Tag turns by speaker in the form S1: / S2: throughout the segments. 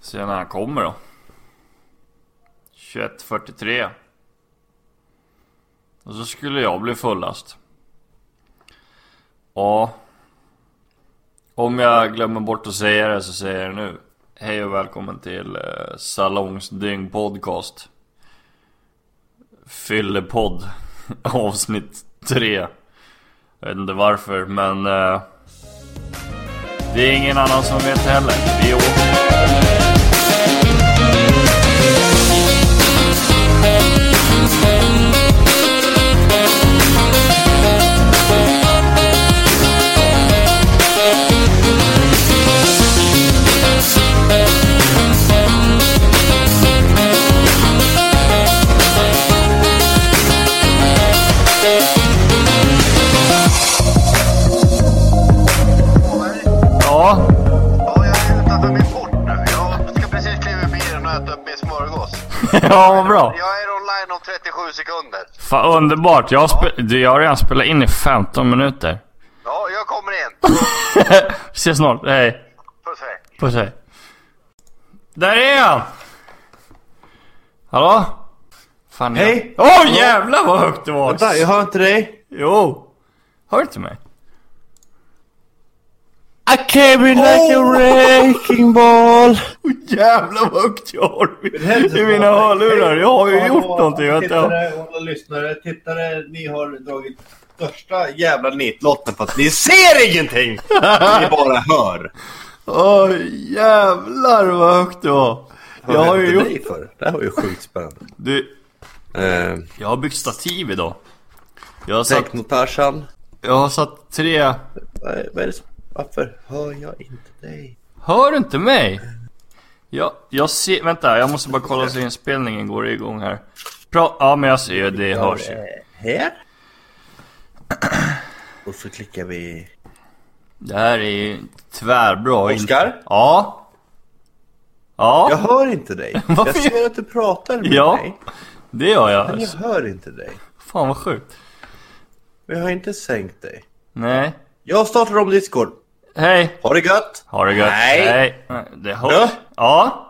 S1: Se när han kommer då. 21.43. Och så skulle jag bli fullast. Ja. Om jag glömmer bort att säga det så säger jag det nu. Hej och välkommen till eh, Salongsdygn Podcast. Fyllepodd. Avsnitt 3. Jag vet inte varför men... Eh, det är ingen annan som vet heller. Vi åker. Ja,
S2: Ja, jag är utanför min port nu. Jag ska precis kliva ur bilen och äta upp min smörgås.
S1: ja vad bra.
S2: Jag är online om 37 sekunder.
S1: Fan underbart. Jag har, spe- du, jag har redan spelat in i 15 minuter.
S2: Ja, jag kommer in.
S1: Vi ses snart. Hej.
S2: Puss hej.
S1: Puss hej. Där är han! Hallå? Fan, jag-
S3: Hej.
S1: Åh jävlar vad högt det var!
S3: Vänta, jag hör inte dig.
S1: Jo! Hör du inte mig?
S3: I came in like a wrecking ball.
S1: Åh jävlar vad högt jag har i-
S3: Helvete,
S1: i mina
S3: vad-
S1: hörlurar. Jag har ju
S3: Hallå,
S1: gjort någonting. Jag vet inte.
S3: Tittare och lyssnare, tittare, ni har dragit största jävla nitlotten för att ni ser ingenting! ni bara hör.
S1: Åh jävlar vad högt det var.
S3: Hör
S1: Jag har ju
S3: inte
S1: gjort...
S3: dig för. Det här var ju sjukt spännande.
S1: Du,
S3: Eh,
S1: jag har byggt stativ idag. Jag har satt,
S3: Technotarsan.
S1: jag har satt tre...
S3: Vad är vad är det som... Varför hör jag inte dig?
S1: Hör du inte mig? Jag, jag ser... Vänta, jag måste bara kolla så inspelningen går igång här. Pra, ja men jag ser ju, det hörs ju.
S3: Eh, Här. Och så klickar vi...
S1: Det här är ju tvärbra.
S3: Oscar?
S1: Ja? Ja,
S3: Jag hör inte dig.
S1: Varför?
S3: Jag ser att du pratar med
S1: Ja.
S3: mig.
S1: det gör jag.
S3: Men jag hör inte dig.
S1: Fan vad sjukt.
S3: Men jag har inte sänkt dig.
S1: Nej.
S3: Jag startar om Discord.
S1: Hej!
S3: Ha det gött!
S1: Har det gött?
S3: Nej.
S1: Nej. Det hörs.
S3: Du?
S1: Ja?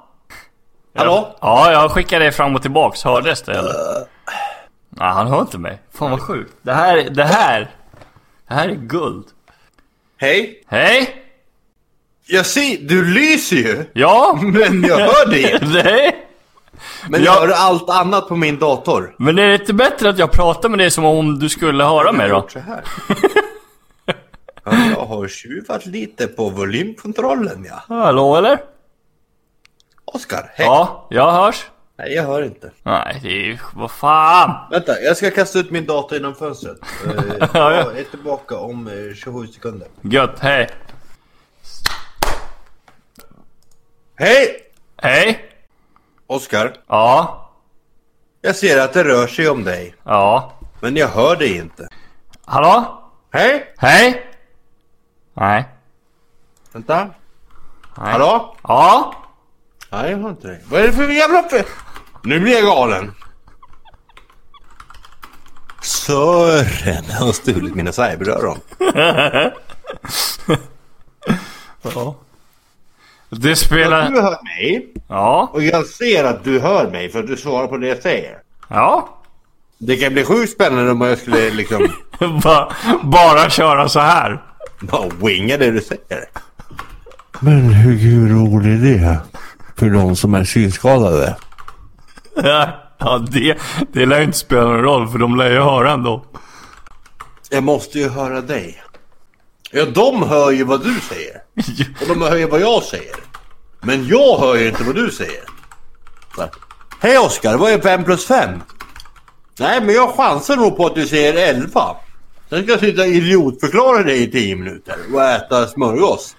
S3: Hallå?
S1: Ja, jag skickar dig fram och tillbaks. Hördes det eller? Nej, han hör inte mig. Fan vad sjukt. Det här, det här. Det här är guld.
S3: Hej!
S1: Hej!
S3: Jag ser, du lyser ju!
S1: Ja?
S3: Men jag hör dig inte.
S1: Nej!
S3: Men
S1: Ja.
S3: jag hör allt annat på min dator.
S1: Men är det inte bättre att jag pratar med dig som om du skulle höra mig
S3: Jag har
S1: då?
S3: gjort så här. Ja, jag har tjuvat lite på volymkontrollen ja.
S1: Hallå eller?
S3: Oskar, hej!
S1: Ja, jag hörs.
S3: Nej, jag hör inte.
S1: Nej, det är ju... Vad fan!
S3: Vänta, jag ska kasta ut min dator genom fönstret. Eh,
S1: ja.
S3: Jag är tillbaka om eh, 27 sekunder.
S1: Gött, hej!
S3: Hej!
S1: Hej!
S3: Oskar,
S1: Ja?
S3: jag ser att det rör sig om dig.
S1: Ja?
S3: Men jag hör dig inte.
S1: Hallå?
S3: Hej!
S1: Hej? Nej.
S3: Vänta.
S1: Nej.
S3: Hallå?
S1: Ja?
S3: Nej, jag hör inte dig. Vad är det för jävla fel? Nu blir jag galen. Sören, han har stulit mina cyberöron.
S1: Ja. Det spelar...
S3: Du hör mig
S1: Ja?
S3: och jag ser att du hör mig för att du svarar på det jag säger.
S1: Ja?
S3: Det kan bli sjukt spännande om jag skulle liksom
S1: Bara, bara köra så här.
S3: bara winga det du säger. Men hur, hur rolig är det? För de som är synskadade.
S1: Ja, det, det lär ju inte spela någon roll för de lär ju höra ändå.
S3: Jag måste ju höra dig. Ja, de hör ju vad du säger. Och de hör ju vad jag säger. Men jag hör ju inte vad du säger. Så här, Hej Oskar, vad är 5 plus 5? Nej, men jag chansar nog på att du säger 11. Sen ska jag sitta och idiotförklara dig i 10 minuter och äta smörgås.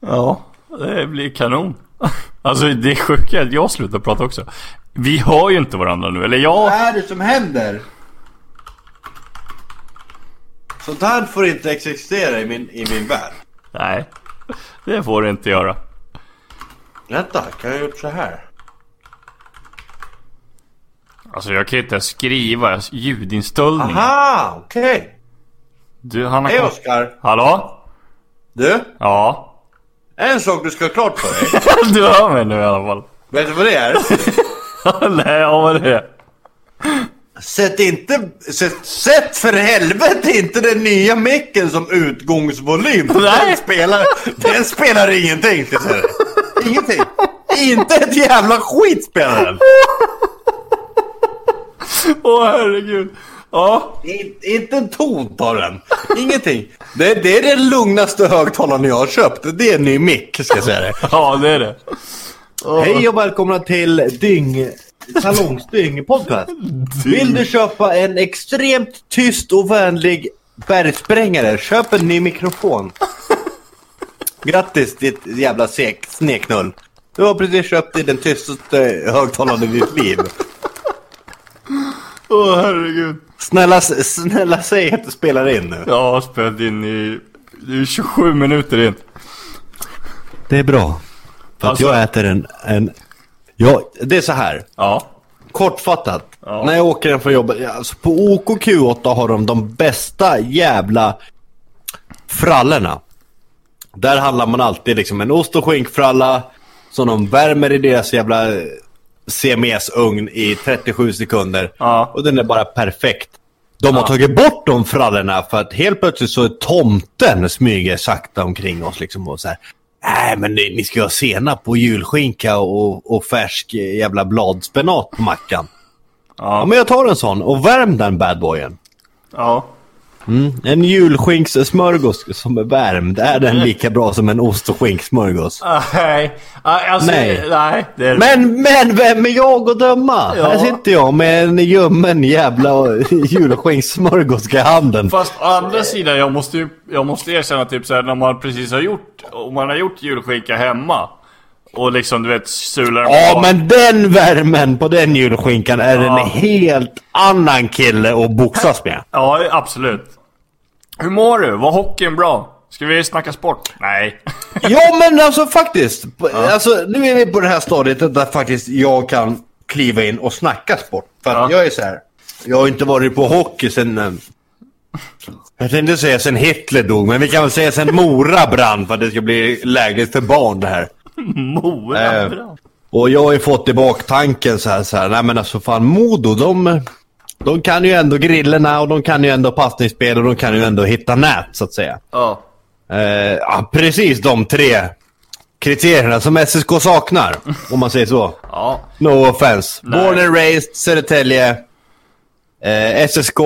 S1: Ja, det blir kanon. Alltså det är sjuka är att jag slutar prata också. Vi hör ju inte varandra nu, eller jag...
S3: Vad är det som händer? Sånt här får inte existera i min, i min värld.
S1: Nej, det får du inte göra.
S3: Vänta, kan jag ha gjort så här?
S1: Alltså jag kan ju inte ens skriva ljudinställning.
S3: Aha, okej.
S1: Du, han har...
S3: Hej Oskar.
S1: Hallå?
S3: Du,
S1: Ja?
S3: En sak du ska ha klart för dig.
S1: Du hör mig nu i alla fall.
S3: Vet du vad det är?
S1: Nej, ja vad det är.
S3: Sätt inte... Sätt, sätt för helvete inte den nya micken som utgångsvolym. Den
S1: Nej.
S3: spelar, den spelar ingenting. ska jag säga dig. Ingenting. Inte ett jävla skit spelar den.
S1: Åh herregud. Ja,
S3: In, inte en ton tar den. Ingenting. Det, det är den lugnaste högtalaren jag har köpt. Det är en ny mick ska jag säga det.
S1: ja det är det.
S3: Hej och välkomna till Dyng... Salongsdyng podcast. Vill du köpa en extremt tyst och vänlig bergsprängare, köp en ny mikrofon. Grattis ditt jävla sek- sneknull. Du har precis köpt dig den tystaste högtalaren i ditt liv.
S1: Åh herregud.
S3: Snälla, s- snälla säg att du spelar in nu.
S1: Jag har spelat in i, i 27 minuter in.
S3: Det är bra. För att
S1: Alltså-
S3: jag äter en... en... Ja, det är så här.
S1: Ja.
S3: Kortfattat.
S1: Ja.
S3: När jag åker hem från jobbet. ja, Alltså på OKQ8 har de de bästa jävla frallorna. Där handlar man alltid liksom en ost och skinkfralla som de värmer i deras jävla eh, CMS-ugn i 37 sekunder.
S1: Ja.
S3: Och den är bara perfekt. De har tagit bort de frallorna för att helt plötsligt så är tomten smyger sakta omkring oss liksom och så här. Nej men ni, ni ska ju ha senap och julskinka och, och färsk eh, jävla bladspenat på mackan. Ja. men jag tar en sån och värm den badboyen.
S1: Ja.
S3: En julskinkssmörgås som är värmd, är den lika bra som en ost och skinksmörgås?
S1: Ah, Nej. Alltså,
S3: Nej.
S1: nej det är
S3: Men, men vem är jag att döma?
S1: Ja.
S3: Här sitter jag med en ljummen jävla julskinkssmörgås i handen.
S1: Fast å andra sidan, jag måste ju jag måste erkänna typ såhär när man precis har gjort, om man har gjort julskinka hemma och liksom du vet sular den
S3: Ja,
S1: på-
S3: men den värmen på den julskinkan är
S1: Ja.
S3: en helt annan kille att boxas med.
S1: Ja, absolut. Hur mår du? Var hockeyn bra? Ska vi snacka sport? Nej.
S3: Ja men alltså faktiskt. På- Alltså, nu är vi på det här stadiet där faktiskt jag kan kliva in och snacka sport. För att
S1: Ja.
S3: jag är så här. Jag har inte varit på hockey sen... eh, Jag tänkte säga sen Hitler dog, men vi kan väl säga sen Mora brann för att det ska bli lägligt för barn det här.
S1: Mora
S3: Eh.
S1: bra.
S3: Och jag har ju fått i baktanken så här, så här nej men alltså fan Modo de, de kan ju ändå grillorna och de kan ju ändå passningsspel och de kan ju ändå hitta nät så att säga.
S1: Ja.
S3: Eh, ja, precis de tre kriterierna som SSK saknar, om man säger så.
S1: Ja.
S3: No offense.
S1: Nej.
S3: Born and raised, Södertälje. Eh, SSK,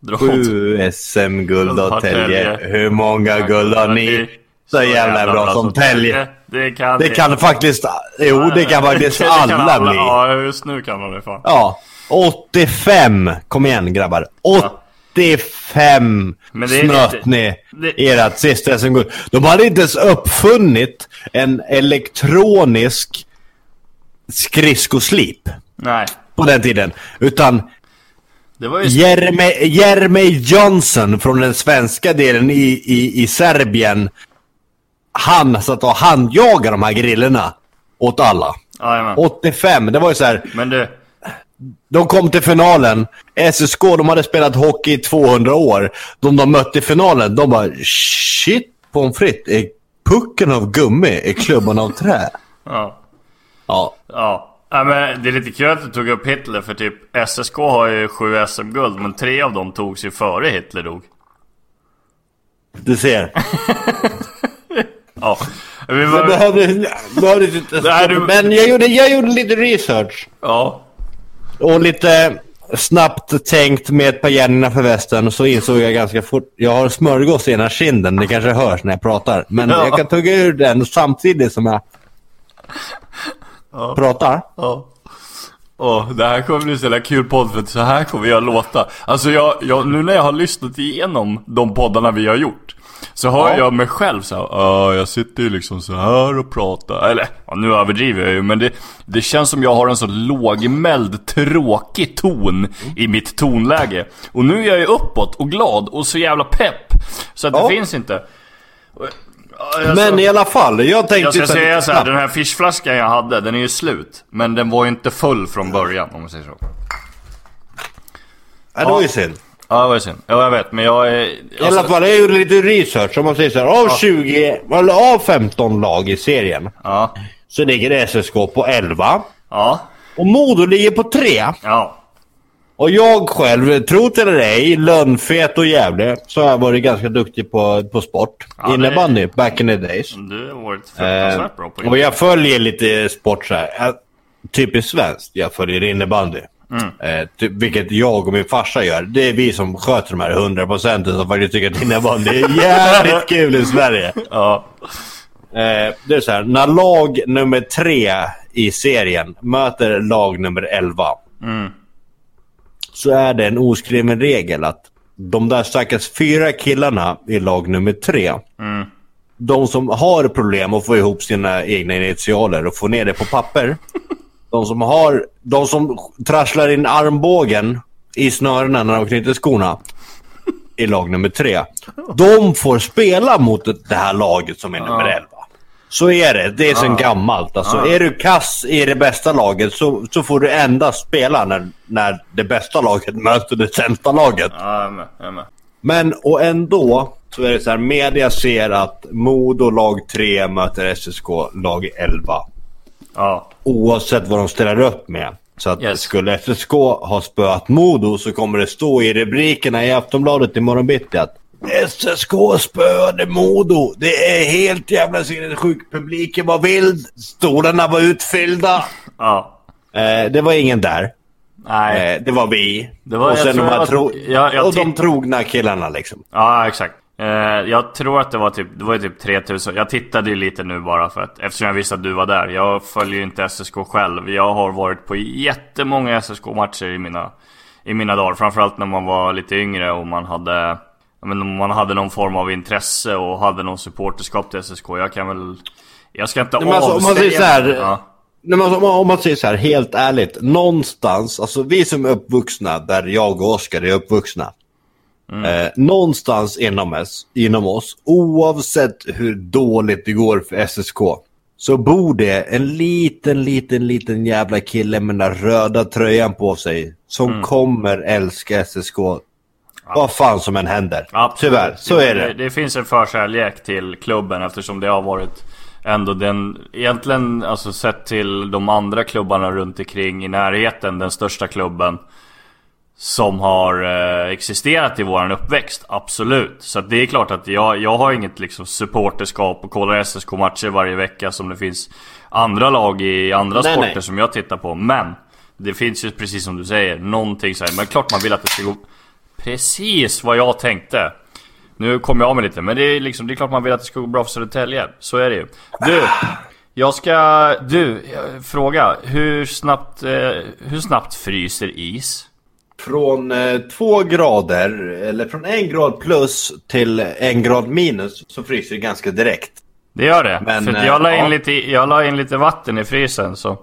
S1: Dra åt.
S3: 7 SM-guld
S1: Har
S3: och Tälje.
S1: Tälje.
S3: Hur många guld har ni? Så jävla bra som Tälje.
S1: Det kan
S3: Det
S1: ni.
S3: kan faktiskt... Jo, det kan faktiskt
S1: Det kan
S3: alla bli.
S1: Ja, just nu kan de det fan.
S3: Ja. 85! Kom igen grabbar. 85
S1: Men det är
S3: snöt
S1: lite-
S3: ni
S1: det-
S3: ert sista SM-guld. De hade inte ens uppfunnit en elektronisk skridskoslip
S1: Nej.
S3: på den tiden. Utan
S1: Det var ju...
S3: Jeremy, Jeremy Johnson från den svenska delen i, i, i Serbien. Han satt och handjagade de här grillorna åt alla.
S1: Jajamän.
S3: 85, det var ju så här.
S1: Men du.
S3: De kom till finalen. SSK, de hade spelat hockey i 200 år. De de mötte i finalen, de bara shit pommes frites. Är pucken av gummi? Är klubban av trä?
S1: Ja.
S3: Ja.
S1: Ja. ja men det är lite kul att du tog upp Hitler för typ SSK har ju sju SM-guld men tre av dem togs ju före Hitler dog.
S3: Du ser.
S1: Ja. Vi
S3: Jag
S1: var...
S3: behövde, behövde inte...
S1: Nej, du-
S3: Men jag gjorde, jag gjorde lite research.
S1: Ja.
S3: Och lite snabbt tänkt med ett par hjärnorna för västen så insåg jag ganska fort. Jag har smörgås i ena kinden. Det kanske hörs när jag pratar. Men
S1: Ja.
S3: jag kan tugga ur den samtidigt som jag pratar.
S1: Ja. Åh, det här kommer bli så jävla kul podd för att så här kommer jag låta. Alltså jag, jag, nu när jag har lyssnat igenom de poddarna vi har gjort. Så hör
S3: Ja.
S1: jag mig själv så här, "Ja, jag sitter ju liksom så här och pratar. Eller, ja, nu överdriver jag ju men det, det känns som jag har en så lågmäld, tråkig ton
S3: Mm.
S1: i mitt tonläge. Och nu är jag ju uppåt och glad och så jävla pepp. Så att
S3: Ja.
S1: det finns inte. Och- ja, alltså-
S3: Men i alla fall, jag tänkte...
S1: jag ska
S3: så här
S1: säga
S3: lite
S1: så här,
S3: snabbt.
S1: den här fishflaskan jag hade, den är ju slut. Men den var ju inte full från början om man säger så.
S3: Ja, det var ju synd.
S1: Ja, Ja, det var synd. Ja, jag vet, men jag är...
S3: I alla fall, jag gjorde lite research. Om man säger så här, av 20, eller av 15 lag i serien
S1: Ja.
S3: så ligger SSK på 11.
S1: Ja.
S3: Och Modo ligger på 3.
S1: Ja.
S3: Och jag själv, tro det eller ej, lönnfet och jävlig, så har jag varit ganska duktig på, på sport.
S1: Ja,
S3: Innebandy, back in the days.
S1: Du har varit
S3: Eh,
S1: fruktansvärt bra på
S3: och
S1: det.
S3: jag följer lite sport så här. eh, Typiskt svenskt. Jag följer innebandy.
S1: Mm.
S3: Eh, ty- vilket jag och min farsa gör. Det är vi som sköter de här 100 procenten som faktiskt tycker att innebandy är jävligt kul i Sverige.
S1: Ja.
S3: Eh, det är så här, när lag nummer tre i serien möter lag nummer 11. Så är det en oskriven regel att de där stackars fyra killarna i lag nummer tre. De som har problem att få ihop sina egna initialer och få ner det på papper. De som, har, de som trasslar in armbågen i snörena när de knyter skorna i lag nummer tre. De får spela mot det här laget som är nummer elva. Så är det. Det är sen gammalt. Alltså, Är du kass i det bästa laget så, så får du endast spela när, när det bästa laget möter det sämsta laget.
S1: Ja, jag är med. Jag är med.
S3: Men och ändå så är det så här. Media ser att Modo lag 3 möter SSK lag 11
S1: Ja.
S3: oavsett vad de ställer upp med. Så att
S1: Yes.
S3: skulle SSK ha spöat Modo så kommer det stå i rubrikerna i Aftonbladet imorgon bitti att SSK spöade Modo. Det är helt jävla sinnessjukt. Publiken var vild. Stolarna var utfyllda.
S1: Ja.
S3: Eh, det var ingen där.
S1: Nej.
S3: Eh, det var vi.
S1: Det var-
S3: och
S1: jag
S3: sen de,
S1: tror
S3: här
S1: att-
S3: tro-
S1: jag- jag
S3: och de
S1: titt-
S3: trogna killarna liksom.
S1: Ja, exakt. Eh, jag tror att det var typ, det var ju typ 3000. Jag tittade ju lite nu bara för att, eftersom jag visste att du var där. Jag följer ju inte SSK själv. Jag har varit på jättemånga SSK-matcher i mina, i mina dagar. Framförallt när man var lite yngre och man hade, ja, men om man hade någon form av intresse och hade någon supporterskap till SSK. Jag kan väl, jag ska inte
S3: Nej, men alltså, om man
S1: avsäga-
S3: säger så här-
S1: Ja.
S3: Nej, men alltså, om, man, om man säger så här helt ärligt. Någonstans, alltså vi som är uppvuxna där jag och Oskar är uppvuxna. Eh, någonstans inom oss, inom oss, oavsett hur dåligt det går för SSK. Så borde en liten, liten, liten jävla kille med den där röda tröjan på sig. Som kommer älska SSK. Vad fan som än händer.
S1: Absolut.
S3: Tyvärr, så är det.
S1: det. Det finns en förkärlek till klubben eftersom det har varit ändå den, egentligen alltså sett till de andra klubbarna runt omkring i närheten, den största klubben som har eh, existerat i våran uppväxt, absolut. Så att det är klart att jag, jag har inget liksom supporterskap och kollar SSK-matcher varje vecka som det finns andra lag i andra
S3: Nej,
S1: sporter
S3: nej.
S1: som jag tittar på. Men det finns ju precis som du säger, någonting så här. Men klart man vill att det ska gå precis vad jag tänkte. Nu kom jag av mig lite, men det är, liksom, det är klart man vill att det ska gå bra för Södertälje. Så är det ju. Du, jag ska... Du, eh, fråga. Hur snabbt, eh, hur snabbt fryser is?
S3: Från eh, två grader, eller från en grad plus till en grad minus, så fryser det ganska direkt.
S1: Det gör det.
S3: Men,
S1: för att jag, la
S3: eh,
S1: in
S3: ja.
S1: lite, jag la in lite vatten i frysen som,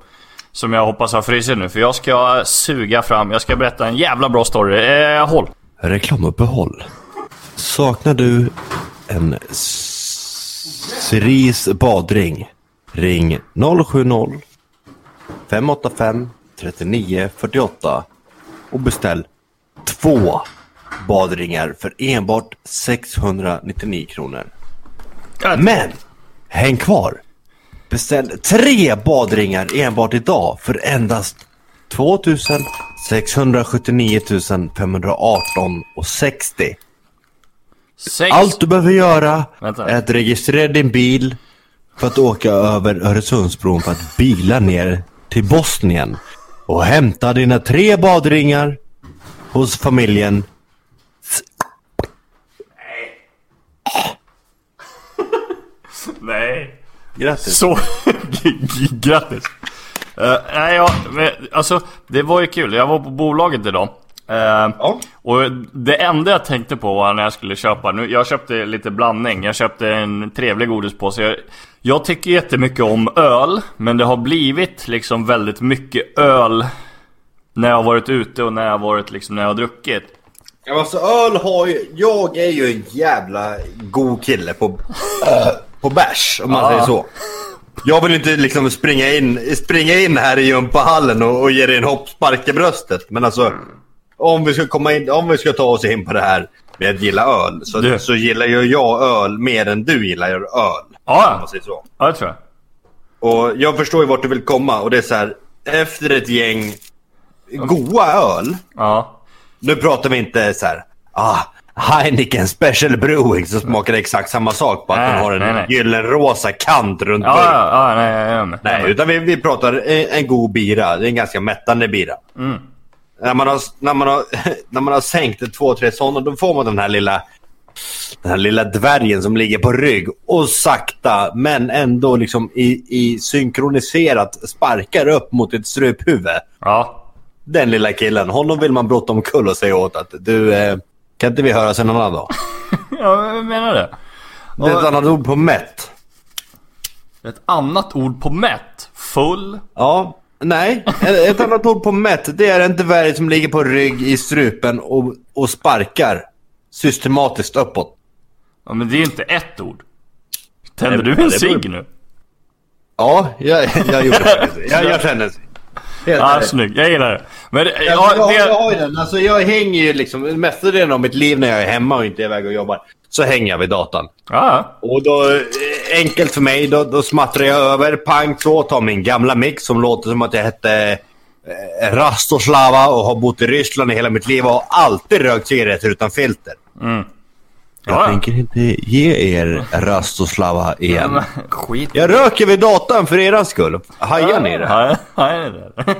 S1: som jag hoppas har frysit nu. För jag ska suga fram, jag ska berätta en jävla bra story. Eh, håll.
S3: Reklamuppehåll. Saknar du en s- Cerise badring? Ring 070 585 3948 och beställ två badringar för enbart 699 kronor. Men häng kvar! Beställ tre badringar enbart idag för endast 2679 518 och 60.
S1: Sex.
S3: Allt du behöver göra
S1: Vänta.
S3: är att registrera din bil för att åka över Öresundsbron för att bila ner till Bosnien och hämta dina tre badringar hos familjen.
S1: Nej.
S3: Grattis!
S1: Så, g- g- grattis! Eh, nej, jag, men, alltså det var ju kul. Jag var på bolaget idag. Eh, Och det enda jag tänkte på var när jag skulle köpa, nu, jag köpte lite blandning, jag köpte en trevlig godispåse. Jag, jag tycker jättemycket om öl, men det har blivit liksom väldigt mycket öl när jag har varit ute och när jag har varit liksom, när jag har druckit.
S3: Ja, alltså öl har ju... Jag är ju en jävla god kille på, eh, på bärs, om man säger så. Jag vill inte liksom springa in, springa in här i gympahallen och, och ge dig en hoppspark i bröstet. Men alltså, om vi ska, komma in, om vi ska ta oss in på det här med att gilla öl så,
S1: Det.
S3: så gillar ju jag öl mer än du gillar ju öl.
S1: Ja.
S3: Om man säger så.
S1: Ja, det tror jag.
S3: Och jag förstår ju vart du vill komma och det är så här efter ett gäng goa öl.
S1: Ja.
S3: Nu pratar vi inte så här ah, Heineken Special Brewing som smakar exakt samma sak bara att
S1: Nej,
S3: den har
S1: nej, nej.
S3: en gyllenrosa kant runt
S1: Ja,
S3: burken.
S1: ja, ja, nej, jag är med. Jag är
S3: Nej,
S1: med.
S3: utan vi, vi pratar en, en god bira. Det är en ganska mättande bira.
S1: Mm.
S3: När, man har, när, man har, när man har sänkt ett, två, tre sådana, då får man den här lilla den här lilla dvärgen som ligger på rygg och sakta men ändå liksom i, i synkroniserat sparkar upp mot ett struphuvud.
S1: Ja.
S3: Den lilla killen, honom vill man brotta omkull och säga åt att du, eh, kan inte vi höras en annan dag?
S1: ja, jag menar det.
S3: Det är ett annat ord på mätt.
S1: Ett annat ord på mätt. Full.
S3: Ja, nej. Ett- Ett annat ord på mätt, det är en dvärg som ligger på rygg i strupen och, och sparkar systematiskt uppåt.
S1: Ja, men det är ju inte ett ord. Tänder du en
S3: det beror-
S1: cigg nu?
S3: Ja, jag, jag gjorde faktiskt det. Jag, jag känner Helt
S1: Ja, ah,
S3: ärligt.
S1: snygg. Jag gillar det. Men det,
S3: Ja, men jag,
S1: ja,
S3: har- jag
S1: det,
S3: har ju den. Alltså, jag hänger ju liksom, mestadelen av mitt liv när jag är hemma och inte är iväg och jobbar, så hänger jag vid datorn.
S1: ja,
S3: Och då, eh, enkelt för mig, då, då smattrar jag över, pang så, tar min gamla mix som låter som att jag hette eh, Rastoslava och har bott i Ryssland i hela mitt liv och har alltid rökt cigaretter utan filter. Jag
S1: Mm. ja.
S3: tänker inte ge er Rastoslava igen.
S1: ja. Skit
S3: Jag röker vid datorn för er skull. Hajar ni det?
S1: Nej, nej, nej.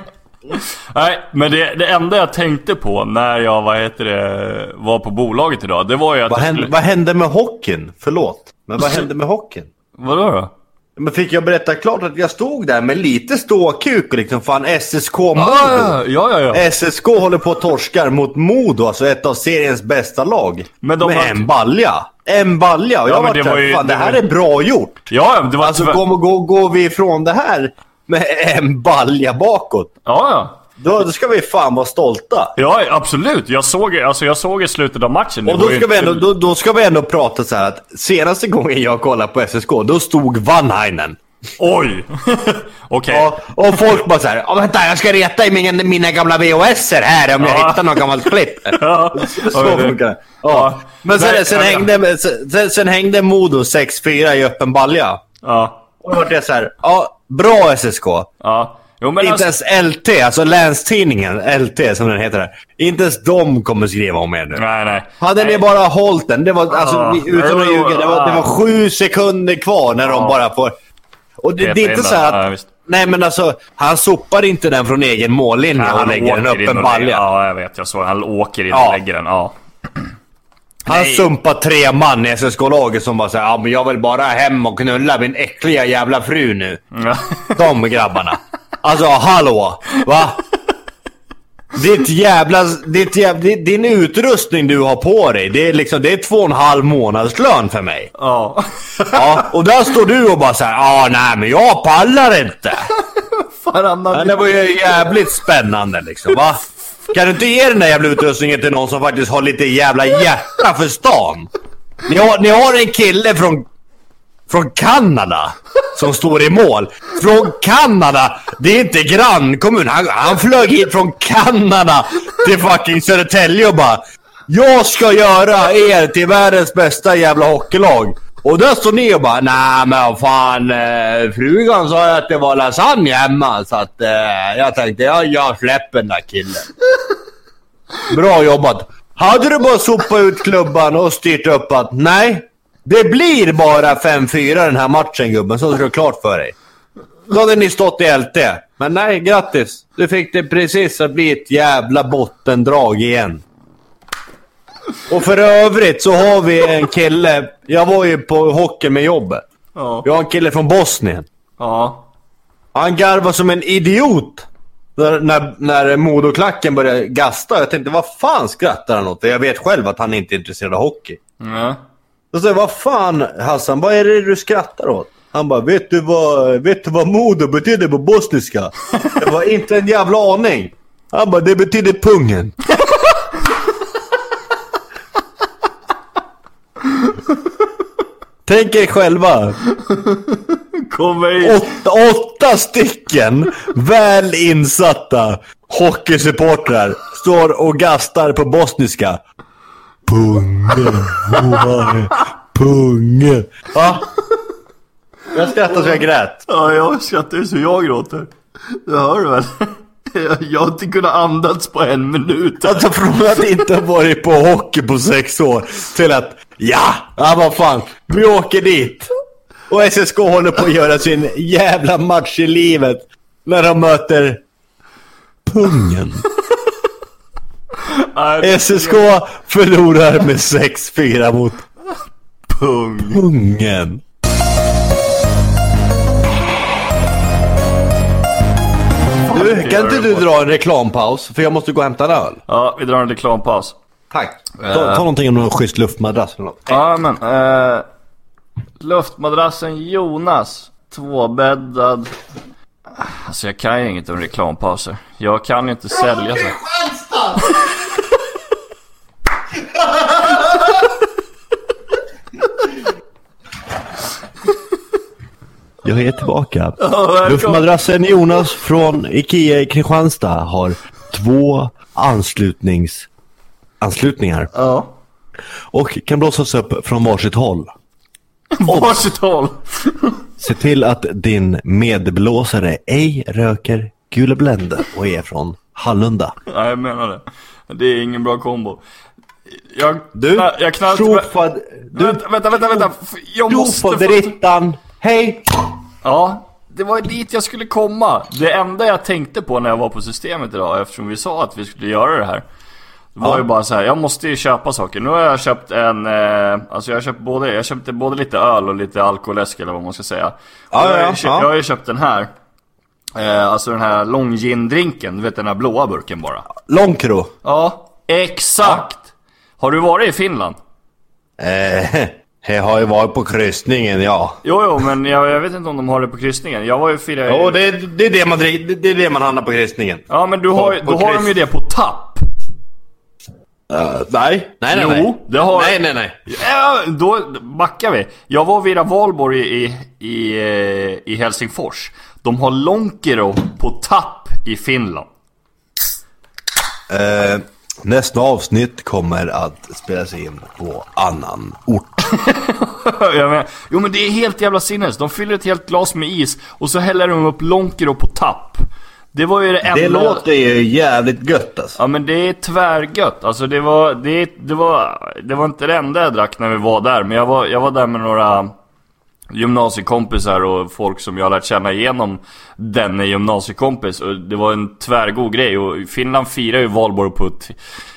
S1: nej men det, det enda jag tänkte på när jag vad heter det, var på bolaget idag, det var ju att...
S3: Vad
S1: jag
S3: hände,
S1: skulle-
S3: vad hände med hockeyn? Förlåt, men vad hände med hockeyn?
S1: Vadå då?
S3: Men fick jag berätta klart att jag stod där med lite ståkuk och liksom fan SSK-mod?
S1: Ah, ja, ja, ja.
S3: SSK håller på att torskar mot Modo, alltså ett av seriens bästa lag.
S1: Men de
S3: med
S1: har-
S3: en balja. En balja. Och jag
S1: Ja,
S3: har
S1: men
S3: varit
S1: det var
S3: där,
S1: ju-
S3: fan
S1: det
S3: det här
S1: var-
S3: är bra gjort.
S1: Ja, ja, det var
S3: Alltså
S1: tyvärr-
S3: går, går, går vi ifrån det här med en balja bakåt,
S1: Ja, ja.
S3: då, då ska vi fan vara stolta.
S1: Ja, absolut. Jag såg, alltså, jag såg i slutet av matchen. det
S3: Och
S1: var
S3: då
S1: ju
S3: ska, vi
S1: inte-
S3: ändå, då, då ska vi ändå prata så här att senaste gången jag kollade på SSK, då stod Vanhainen.
S1: Oj! Okej.
S3: Ja, och folk bara såhär "Ja, “Vänta, jag ska reta i mina, mina gamla VHSer här om jag
S1: Ja.
S3: hittar något gammalt klipp”.
S1: Ja.
S3: Så
S1: men det-
S3: funkar det.
S1: Ja.
S3: Ja. Men
S1: Nej,
S3: sen, sen,
S1: ja, ja.
S3: hängde, sen, sen hängde Modo 6-4 i öppen balja.
S1: Ja.
S3: Och då vart jag såhär, ja, bra SSK.
S1: Ja. Jo, men
S3: Inte
S1: alltså,
S3: ens LT, alltså Länstidningen, LT som den heter där. Inte ens de kommer skriva om er nu.
S1: Nej, nej.
S3: Hade
S1: nej.
S3: ni bara hållit den, det var, alltså,
S1: Ah.
S3: vi- utan att
S1: Jo,
S3: ljuga, det var, det var
S1: ah.
S3: sju sekunder kvar när de
S1: Ja.
S3: bara får... Och det,
S1: Peta
S3: det är inte
S1: in
S3: så
S1: den.
S3: här
S1: Ja,
S3: att...
S1: visst.
S3: Nej men alltså, han sopar inte den från egen mållinje och lägger den
S1: åker in
S3: upp en
S1: och-
S3: balja.
S1: Ja, jag vet. Jag såg. Han åker in
S3: Ja.
S1: och lägger den. Ja.
S3: Han
S1: nej.
S3: sumpar tre man i SSK-laget som bara säger ja men jag vill bara hem och knulla min äckliga jävla fru nu.
S1: Ja.
S3: De grabbarna. Alltså hallå! Va? Ditt jävla, ditt jävla, din utrustning du har på dig, det är liksom, det är två och en halv månadslön för mig.
S1: ja.
S3: Ja, och där står du och bara såhär ja nej men jag pallar inte.
S1: Varannan
S3: Men det var ju jävligt spännande liksom va. Kan du inte ge den där jävla utrustningen till någon som faktiskt har lite jävla hjärta för stan? Ni har, ni har en kille från, från Kanada som står i mål. Från Kanada! Det är inte grannkommun. Han, han flög hit från Kanada till fucking Södertälje och bara Jag ska göra er till världens bästa jävla hockeylag. Och där står ni och bara Nej men vad fan eh, frugan sa att det var lasagne hemma så att eh, jag tänkte jag, jag släpper den där killen. Bra jobbat. Hade du bara sopat ut klubban och styrt upp att nej, det blir bara 5-4 den här matchen gubben, så ska du ha klart för dig. Då hade ni stått i LT. Men nej, grattis. Du fick det precis att bli ett jävla bottendrag igen. Och för övrigt så har vi en kille. Jag var ju på hockey med jobbet.
S1: Ja.
S3: Vi har en kille från Bosnien.
S1: Ja.
S3: Han garvade som en idiot när, när, när Modoklacken började gasta. Jag tänkte, vad fan skrattar han åt? För Jag vet själv att han inte är intresserad av hockey.
S1: Ja.
S3: Då sa jag, vad fan Hassan, vad är det du skrattar åt? Han bara, vet du vad, vet du vad Modo betyder på bosniska? Jag var inte en jävla aning. Han bara, det betyder pungen. Tänk er själva.
S1: Kommer in.
S3: Åtta, åtta stycken väl insatta hockeysupportrar står och gastar på bosniska. Punge, oj, punge. Ja. Jag skrattade så jag grät.
S1: Ja, jag skrattar ju så jag gråter. Det hör du väl? Jag- Jag har inte kunnat andas på en minut.
S3: Alltså från att inte ha varit på hockey på sex år till att ja, ja vad fan, vi åker dit. Och SSK håller på att göra sin jävla match i livet när de möter pungen.
S1: Nej,
S3: SSK förlorar med 6-4 mot
S1: pung.
S3: pungen. Du, kan inte du dra en reklampaus? För jag måste gå och hämta en öl.
S1: Ja, vi drar en reklampaus.
S3: Tack. Ta, ta någonting om någon schysst luftmadrass eller något.
S1: Ja, men. Eh, luftmadrassen Jonas. Tvåbäddad. Alltså jag kan ju inget om reklampauser. Jag kan ju inte sälja så.
S3: Jag är tillbaka. Luftmadrassen Jonas från IKEA i Kristianstad har två anslutnings... anslutningar.
S1: Ja.
S3: Och kan blåsas upp från varsitt håll.
S1: Varsitt håll.
S3: Se till att din medblåsare ej röker Gula Blend och är från Hallunda.
S1: Nej, jag menar det. Det är ingen bra kombo. Jag,
S3: Du,
S1: jag, jag knallar
S3: tjofad... Du,
S1: Vänta, vänta, vänta, vänta. F- Jag måste få...
S3: tjofaderittan! Hej!
S1: Ja, det var ju dit jag skulle komma. Det enda jag tänkte på när jag var på systemet idag, eftersom vi sa att vi skulle göra det här. Det var ju bara så här, jag måste ju köpa saker. Nu har jag köpt en, eh, alltså jag har köpt både, jag köpte både lite öl och lite alkoläsk eller vad man ska säga. Och
S3: Ja,
S1: jag, har ju
S3: ja,
S1: köpt,
S3: ja.
S1: jag har ju köpt den här. Eh, alltså den här long gin-drinken, du vet den här blåa burken bara.
S3: Långkro.
S1: Ja, exakt! Har du varit i Finland?
S3: Eh, jag har ju varit på kryssningen ja.
S1: Jo, jo, men jag, jag vet inte om de har det på kryssningen. Jag var ju firade...
S3: Jo, det, det, är det, man, drick- det, det är det man handlar på kryssningen.
S1: Ja, men du har, ju-
S3: på
S1: då har de
S3: kryss.
S1: ju det på tapp.
S3: Eh, nej. Nej, nej,
S1: Jo,
S3: nej.
S1: det har-
S3: Nej, nej, nej.
S1: Ja, då backar vi. Jag var och virade valborg i, i, eh, i Helsingfors. De har Lonkero på tapp i Finland.
S3: Eh, nästa avsnitt kommer att spelas in på annan ort.
S1: Jag menar, jo men det är helt jävla sinnes. De fyller ett helt glas med is och så häller de upp Lonkero på tapp. Det var ju det enda...
S3: Det låter ju jävligt gött alltså.
S1: Ja men det är tvärgött. Alltså det var, det, det var, det var inte det enda jag drack när vi var där. Men jag var, jag var där med några gymnasiekompisar och folk som jag har lärt känna genom denne gymnasiekompis. Och det var en tvärgod grej. Och Finland firar ju valborg på ett...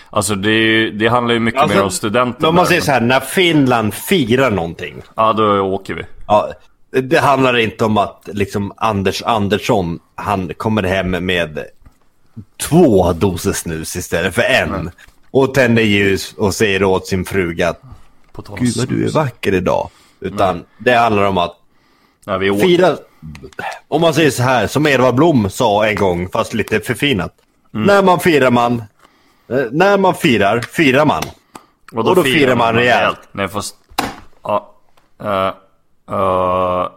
S1: Alltså det, är ju- det handlar ju mycket
S3: Alltså,
S1: mer om studenter.
S3: Men om man
S1: där.
S3: säger så här, när Finland firar någonting.
S1: Ja då åker vi.
S3: Ja, det handlar inte om att liksom Anders Andersson, han kommer hem med två doser snus istället för en. Och tänder ljus och säger åt sin fruga att
S1: På tal om
S3: Gud vad du är
S1: snus.
S3: vacker idag. Utan det handlar om att
S1: Nej, vi åker.
S3: fira, om man säger så här, som Edvard Blom sa en gång, fast lite förfinat.
S1: Mm.
S3: När man firar man, eh, när man firar, firar man.
S1: då,
S3: Och då firar man rejält.
S1: Nej fast... Ja. eh, Uh,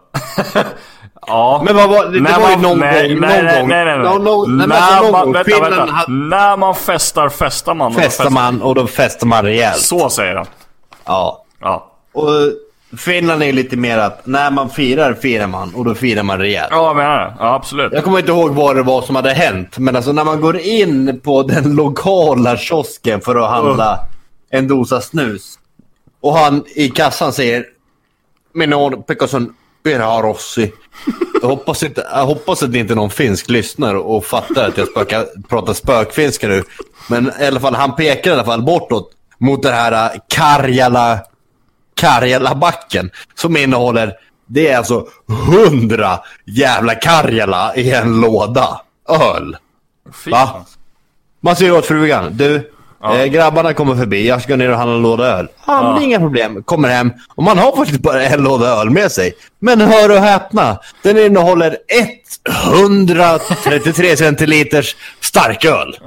S1: ja.
S3: Men vad var det? Det
S1: När
S3: var ju
S1: man-
S3: någon
S1: nej,
S3: gång,
S1: Nej,
S3: någon
S1: nej,
S3: gång.
S1: nej, nej. nej.
S3: Någon- någon- nej, men alltså
S1: När
S3: någon
S1: man-
S3: gång.
S1: vänta,
S3: Finland
S1: vänta.
S3: hade-
S1: När man festar, festar man. Och då
S3: Festar man och då festar man rejält.
S1: Så säger han.
S3: Ja.
S1: Ja.
S3: Och Finland är ju lite mer att när man firar, firar man och då firar man rejält.
S1: Ja, jag menar det. Ja, absolut.
S3: Jag kommer inte ihåg vad det var som hade hänt, men alltså när man går in på den lokala kiosken för att handla en dosa snus och han i kassan säger Minor Pekkasen Perarossi. Jag hoppas, inte, jag hoppas att det inte är någon finsk lyssnar och fattar att jag spökar, pratar spökfinska nu. Men i alla fall, han pekar i alla fall bortåt mot den här äh, Karjala... Karjalabacken som innehåller, det är alltså hundra jävla Karjala i en låda öl.
S1: Fy
S3: Va?
S1: fan.
S3: Man säger åt frugan, du, eh, grabbarna kommer förbi, jag ska ner och handla en låda öl. Ja, men det är inga problem. Kommer hem och man har faktiskt bara en låda öl med sig. Men hör och häpna, den innehåller 133 centiliters starköl.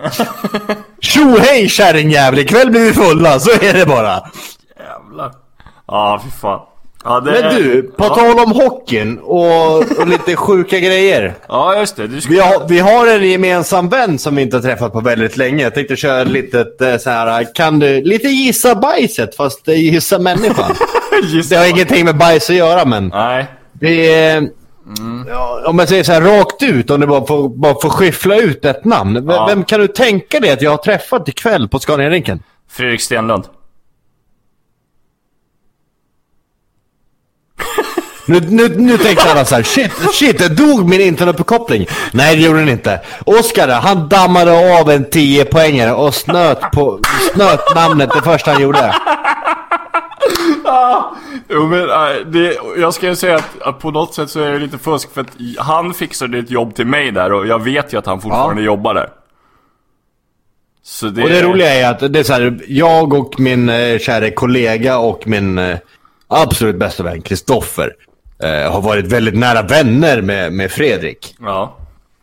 S3: Tjo hej kärringjävel, ikväll blir vi fulla, så är det bara.
S1: Jävlar. Ja, fy fan. Ja, det
S3: Men
S1: är-
S3: du, på
S1: ja.
S3: tal om hockeyn och, och lite sjuka grejer.
S1: Ja, just det. Du ska...
S3: Vi har, vi har en gemensam vän som vi inte har träffat på väldigt länge. Jag tänkte köra lite så här, kan du, lite gissa bajset fast eh, gissa människan.
S1: Just
S3: Det har ingenting med bajs att göra men.
S1: Nej.
S3: Det är, ja, om man säger så här rakt ut, om du bara får, bara får skyffla ut ett namn. V-
S1: Ja.
S3: Vem kan du tänka dig att jag har träffat ikväll på Scaniarinken?
S1: Fredrik Stenlund.
S3: Nu, nu, nu tänkte alla så här, shit, shit, det dog min internetuppkoppling. Nej, det gjorde den inte. Oskar, han dammade av en 10 poängare och snöt, på, snöt namnet det första han gjorde.
S1: Jo, men, eh, det, jag ska ju säga att, att på något sätt så är det lite fusk för att i- han fixade ett jobb till mig där och jag vet ju att han fortfarande jobbar där. Så det,
S3: Och det roliga är att det är så här, jag och min eh, kära kollega och min eh, absolut bästa vän Kristoffer eh, har varit väldigt nära vänner med, med Fredrik.
S1: Ja.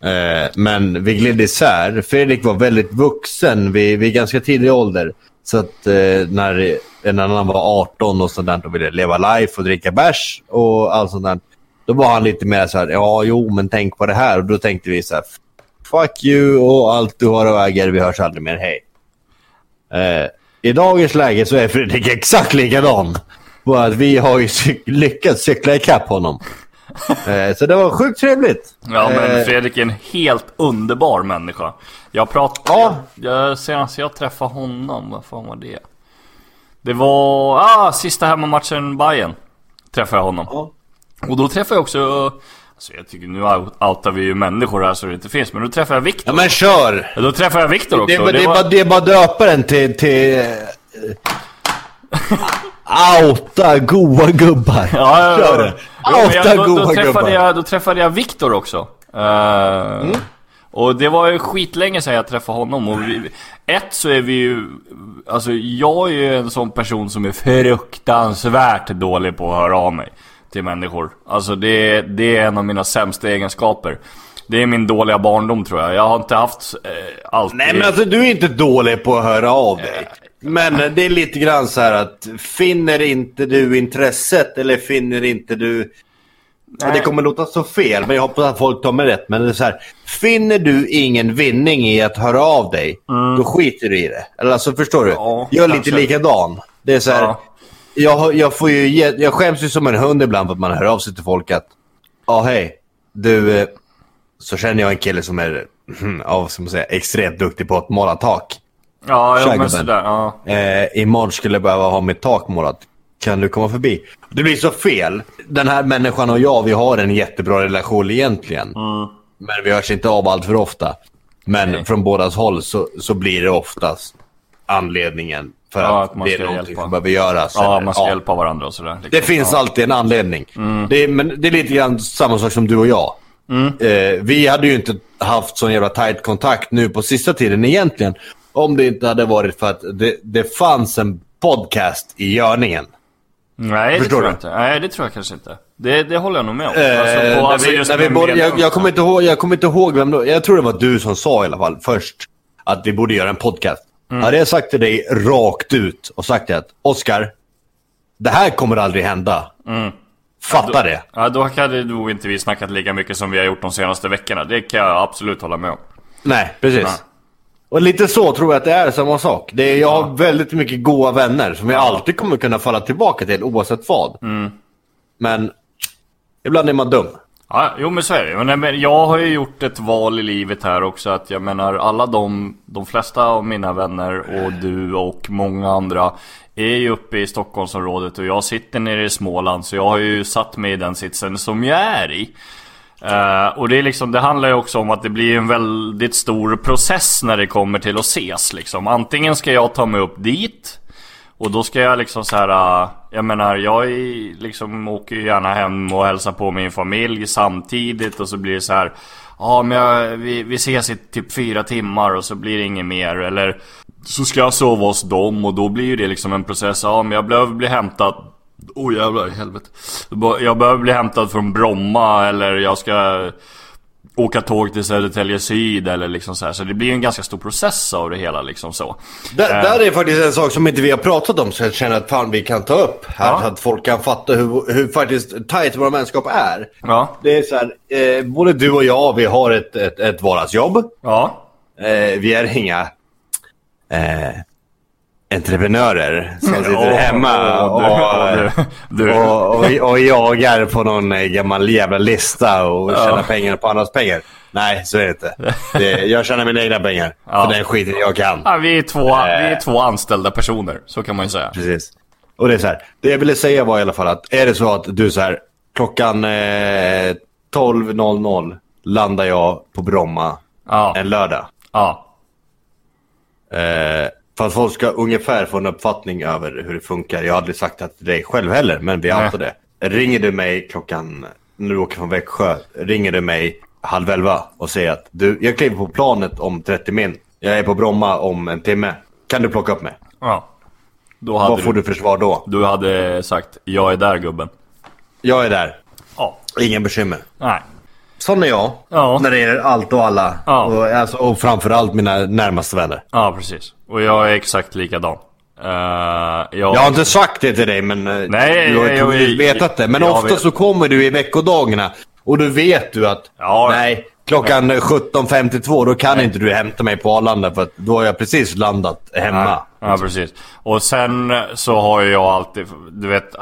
S3: Eh, men vi gled isär. Fredrik var väldigt vuxen vid, vid ganska tidig ålder. Så att eh, när en annan var 18 och sånt där och ville leva life och dricka bärs och allt sånt där. Då var han lite mer så här, ja jo men tänk på det här. Och då tänkte vi så här, fuck you och allt du har och äger, vi hörs aldrig mer, hej. Eh, I dagens läge så är Fredrik exakt likadan. Bara att vi har ju cy- lyckats cykla ikapp honom. Eh, så det var sjukt trevligt.
S1: Ja men
S3: Eh,
S1: Fredrik är en helt underbar människa. Jag pratade...
S3: Ja.
S1: Jag, senast jag träffade honom, vad fan var det? Det var... Ah, sista hemmamatchen Bayern Träffade jag honom.
S3: Ja.
S1: Och då träffade jag också... Alltså jag tycker nu out- outar vi ju människor här så det inte finns. Men då träffade jag Viktor.
S3: Ja men kör!
S1: Då träffade jag Viktor också.
S3: Det, är bara-
S1: och
S3: det, är
S1: var-
S3: bara, det är bara döpa den till... till eh, Outa goa gubbar.
S1: Ja, ja,
S3: Kör
S1: ja.
S3: det.
S1: Jo, men
S3: Outa
S1: jag, då, då,
S3: goa gubbar. Mm.
S1: träffade jag, då träffade jag Viktor också. Eh, Och det var ju skitlänge sedan jag träffade honom. Och vi, ett så är vi ju... Alltså jag är ju en sån person som är fruktansvärt dålig på att höra av mig till människor. Alltså det, det är en av mina sämsta egenskaper. Det är min dåliga barndom tror jag. Jag har inte haft eh, alltid...
S3: Nej men alltså du är inte dålig på att höra av dig. Men eh, det är lite grann så här att finner inte du intresset eller finner inte du... Ja, Det kommer låta så fel men jag hoppas att folk tar mig rätt. Men det är så här, finner du ingen vinning i att höra av dig, då skiter du i det. Eller alltså förstår du?
S1: Mm. Ja,
S3: Gör lite
S1: kanske.
S3: likadan. Det är så här,
S1: Ja.
S3: jag, har- jag, får ju, ge- jag skäms ju som en hund ibland för att man hör av sig till folk att Ja, hej. Du, eh, så känner jag en kille som är av, som säga, extremt duktig på att måla tak.
S1: Ja, ja men
S3: Shagubben.
S1: sådär. Ja.
S3: Eh, imorgon skulle jag behöva ha mitt tak målat. Kan du komma förbi? Det blir så fel. Den här människan och jag, vi har en jättebra relation egentligen. Men vi hörs inte av allt för ofta. Men från bådas håll så, så blir det oftast anledningen för
S1: Ja,
S3: att,
S1: att man
S3: det är
S1: ska
S3: någonting
S1: hjälpa.
S3: som behöver göras.
S1: ja,
S3: Eller-
S1: man ska
S3: ja.
S1: hjälpa varandra och sådär. liksom.
S3: Det finns alltid en anledning.
S1: Mm.
S3: Det, är, men det är lite grann samma sak som du och jag. Eh, vi hade ju inte haft sån jävla tight kontakt nu på sista tiden egentligen. Om det inte hade varit för att det, det fanns en podcast i görningen.
S1: Nej det
S3: Förstår
S1: tror jag
S3: du?
S1: inte. Nej det tror jag kanske inte. Det, det håller jag nog med om.
S3: Eh,
S1: Alltså, på-
S3: när
S1: alltså
S3: vi-
S1: just
S3: när vi
S1: med
S3: borde- jag,
S1: medlemmar.
S3: jag, kommer inte ihåg, jag kommer inte ihåg vem då. Jag tror det var du som sa i alla fall först att vi borde göra en podcast.
S1: Mm.
S3: Hade jag sagt till dig rakt ut och sagt det att Oscar, det här kommer aldrig hända.
S1: Mm.
S3: Fatta det.
S1: Ja, då hade nog inte vi snackat lika mycket som vi har gjort de senaste veckorna. Det kan jag absolut hålla med om.
S3: Nej, precis. Och lite så tror jag att det är samma sak. Det är, jag har väldigt mycket goda vänner som jag alltid kommer kunna falla tillbaka till oavsett vad. Men ibland är man dum.
S1: Ja, jo men så är det. Men, nej, men jag har ju gjort ett val i livet här också att jag menar alla de, de flesta av mina vänner och du och många andra är ju uppe i Stockholmsområdet och jag sitter nere i Småland så jag har ju satt mig i den sitsen som jag är i. Eh, och det, är liksom, det handlar ju också om att det blir en väldigt stor process när det kommer till att ses liksom. Antingen ska jag ta mig upp dit och då ska jag liksom så här. äh, Jag menar jag är, liksom åker ju gärna hem och hälsar på min familj samtidigt och så blir det så här. Ja men jag, vi, vi ses i typ fyra timmar och så blir det inget mer eller Så ska jag sova hos dem och då blir ju det liksom en process. Ja men jag behöver bli hämtad Åh oh, jävlar i helvete. Jag behöver bli hämtad från Bromma eller jag ska åka tåg till Södertälje Syd eller liksom så här. Så det blir ju en ganska stor process av det hela liksom så.
S3: Där, där är faktiskt en sak som inte vi har pratat om så jag känner att fan vi kan ta upp här.
S1: Ja.
S3: Så att folk kan fatta hur, hur faktiskt tajt våra vänskap är.
S1: Ja.
S3: Det är så här, eh, både du och jag vi har ett, ett, ett vardagsjobb.
S1: Ja.
S3: Eh, vi är inga eh, entreprenörer som sitter
S1: Åh,
S3: hemma
S1: åh,
S3: och,
S1: du, åh, du, du.
S3: och, och, och jagar på någon eh, gammal jävla lista och tjänar pengar på andras pengar. Nej, så är det inte. Det, jag tjänar mina egna pengar. För den skiten jag kan.
S1: Ja, vi, är två, vi är två anställda personer, så kan man ju säga.
S3: Precis. Och det är så här. Det jag ville säga var i alla fall att är det så att du så här klockan eh, 12.00 landar jag på Bromma
S1: Ja.
S3: en lördag.
S1: Ja.
S3: Eh, för att folk ska ungefär få en uppfattning över hur det funkar. Jag har aldrig sagt det till dig själv heller, men vi
S1: Nej.
S3: antar det. Ringer du mig klockan, när du åker från Växjö, ringer du mig halv elva och säger att du, jag kliver på planet om 30 min. Jag är på Bromma om en timme. Kan du plocka upp mig?
S1: ja. Då hade
S3: Vad får du för svar då?
S1: Du hade sagt jag är där gubben.
S3: Jag är där.
S1: Ja.
S3: Ingen bekymmer.
S1: Nej.
S3: Sån är jag.
S1: Ja.
S3: När det gäller allt och alla.
S1: Ja.
S3: Och, alltså, och framförallt mina närmaste vänner.
S1: Ja, precis. Och jag är exakt likadan. Uh, jag...
S3: Jag har inte sagt det till dig, men eh,
S1: Nej,
S3: du har ju
S1: jag-
S3: troligtvis
S1: jag-
S3: vetat det. Men
S1: jag
S3: ofta
S1: vet.
S3: så kommer du i veckodagarna och då vet du att
S1: Ja.
S3: nej, klockan 17.52 då kan inte du hämta mig på Arlanda för att då har jag precis landat hemma.
S1: Ja, alltså. precis. Och sen eh, så har ju jag alltid, du vet,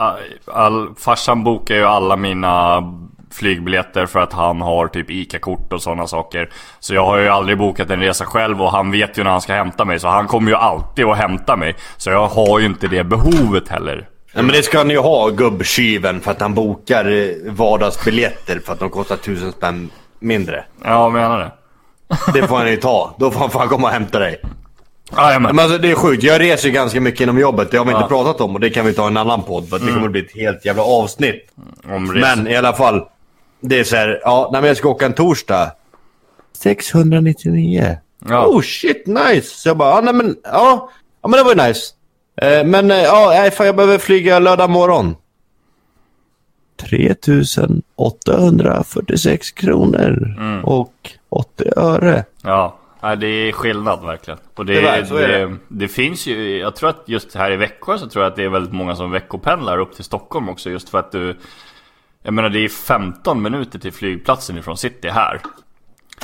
S1: all, farsan bokar ju alla mina flygbiljetter för att han har typ ICA-kort och sådana saker. Så jag har ju aldrig bokat en resa själv och han vet ju när han ska hämta mig. Så han kommer ju alltid att hämta mig. Så jag har ju inte det behovet heller.
S3: Nej, men det ska han ju ha, gubbkyven, för att han bokar eh, vardagsbiljetter för att de kostar tusen spänn mindre.
S1: Ja, jag menar det.
S3: Det får han ju ta. Då får han fan komma och hämta dig.
S1: Jajamän.
S3: Men alltså, det är sjukt. Jag reser ju ganska mycket inom jobbet. Det har vi
S1: Ja. Mm.
S3: inte pratat om och det kan vi ta i en annan podd. För att Det kommer bli ett helt jävla avsnitt.
S1: Om resor.
S3: Men i alla fall. Det är så här, ja, när jag ska åka en torsdag. 699.
S1: Ja.
S3: Oh shit, nice. Så jag bara, ja, nej, men, ja, ja men det var ju nice. Eh, men eh, ja, nej, fan, jag behöver flyga lördag morgon. 3846 kronor
S1: Mm.
S3: och 80 öre.
S1: Ja, ja, det är skillnad verkligen. Och det,
S3: Tyvärr, så är
S1: det,
S3: det.
S1: det finns ju, jag tror att just här i Växjö så tror jag att det är väldigt många som veckopendlar upp till Stockholm också just för att du jag menar det är 15 minuter till flygplatsen ifrån city här.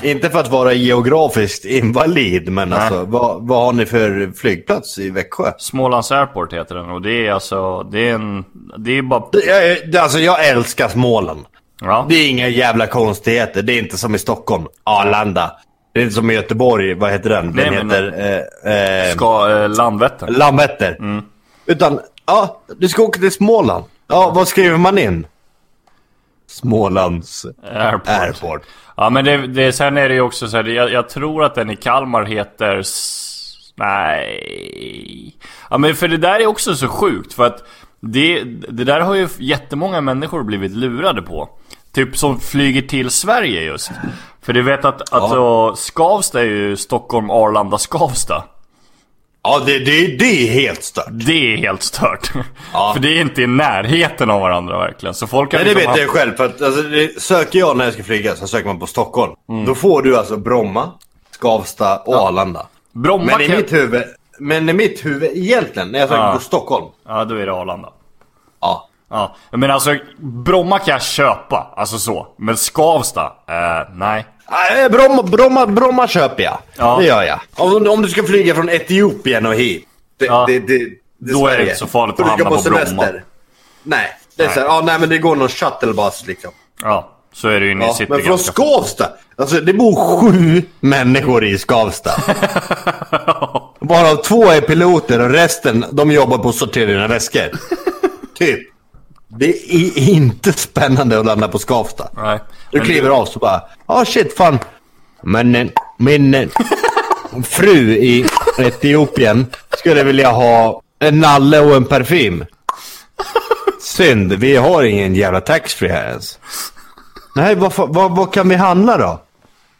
S3: Inte för att vara geografiskt invalid, men
S1: Nej.
S3: alltså vad, vad har ni för flygplats i Växjö?
S1: Smålands Airport heter den och det är alltså, det är en, det är bara...
S3: Jag, jag- alltså jag älskar Småland.
S1: Ja,
S3: Det är inga jävla konstigheter. Det är inte som i Stockholm, Arlanda. Det är inte som i Göteborg, vad heter den? Den
S1: Nej, men-
S3: heter eh, eh,
S1: ska, eh, Landvetter.
S3: Landvetter.
S1: Mm.
S3: Utan, ja, du ska åka till Småland. Ja, vad skriver man in? Smålands
S1: Airport.
S3: Airport.
S1: Ja men det, det, sen är det ju också så här, det- jag, jag tror att den i Kalmar heter... S- Nej... Ja men för det där är också så sjukt för att det, det där har ju jättemånga människor blivit lurade på. Typ som flyger till Sverige just. För du vet att, att så, Skavsta är ju Stockholm, Arlanda, Skavsta.
S3: Ja, det, det, det är helt stört.
S1: Det är helt stört.
S3: Ja.
S1: För det är inte i närheten av varandra verkligen. Så folk har
S3: Nej, det
S1: liksom
S3: vet jag
S1: haft-
S3: själv. För att, alltså, det, söker jag när jag ska flyga så söker man på Stockholm.
S1: Mm.
S3: Då får du alltså Bromma, Skavsta och Arlanda.
S1: Bromma
S3: Men i,
S1: kan...
S3: mitt huvud, men i mitt huvud egentligen, när jag söker
S1: Ja.
S3: på Stockholm.
S1: Ja då är det Arlanda.
S3: Ja.
S1: Ja, men alltså Bromma kan jag köpa, alltså så. Men Skavsta? Eh, nej.
S3: Nej, Bromma, Bromma, Bromma köper jag.
S1: Ja.
S3: Det gör jag. Om, om du ska flyga från Etiopien och hit. Det,
S1: Ja.
S3: det, det, det,
S1: Då är det
S3: Sverige.
S1: inte så farligt
S3: Och
S1: att
S3: du ska
S1: hamna på Bromma.
S3: Nej, det är så här, ja, nej men det går någon shuttlebuss liksom.
S1: Ja, så är det ju inne i
S3: Ja,
S1: city
S3: men från
S1: ganska-
S3: Skavsta! Alltså det bor sju människor i Skavsta. Varav två är piloter och resten de jobbar på att sortera dina väskor. typ. Det är inte spännande att landa på Skavsta.
S1: Nej.
S3: Du
S1: Men
S3: kliver av så bara, ah shit fan. Men eh, min eh, fru i Etiopien skulle vilja ha en nalle och en parfym. Synd, vi har ingen jävla taxfree här ens. Nej, vad, fa- vad, vad kan vi handla då?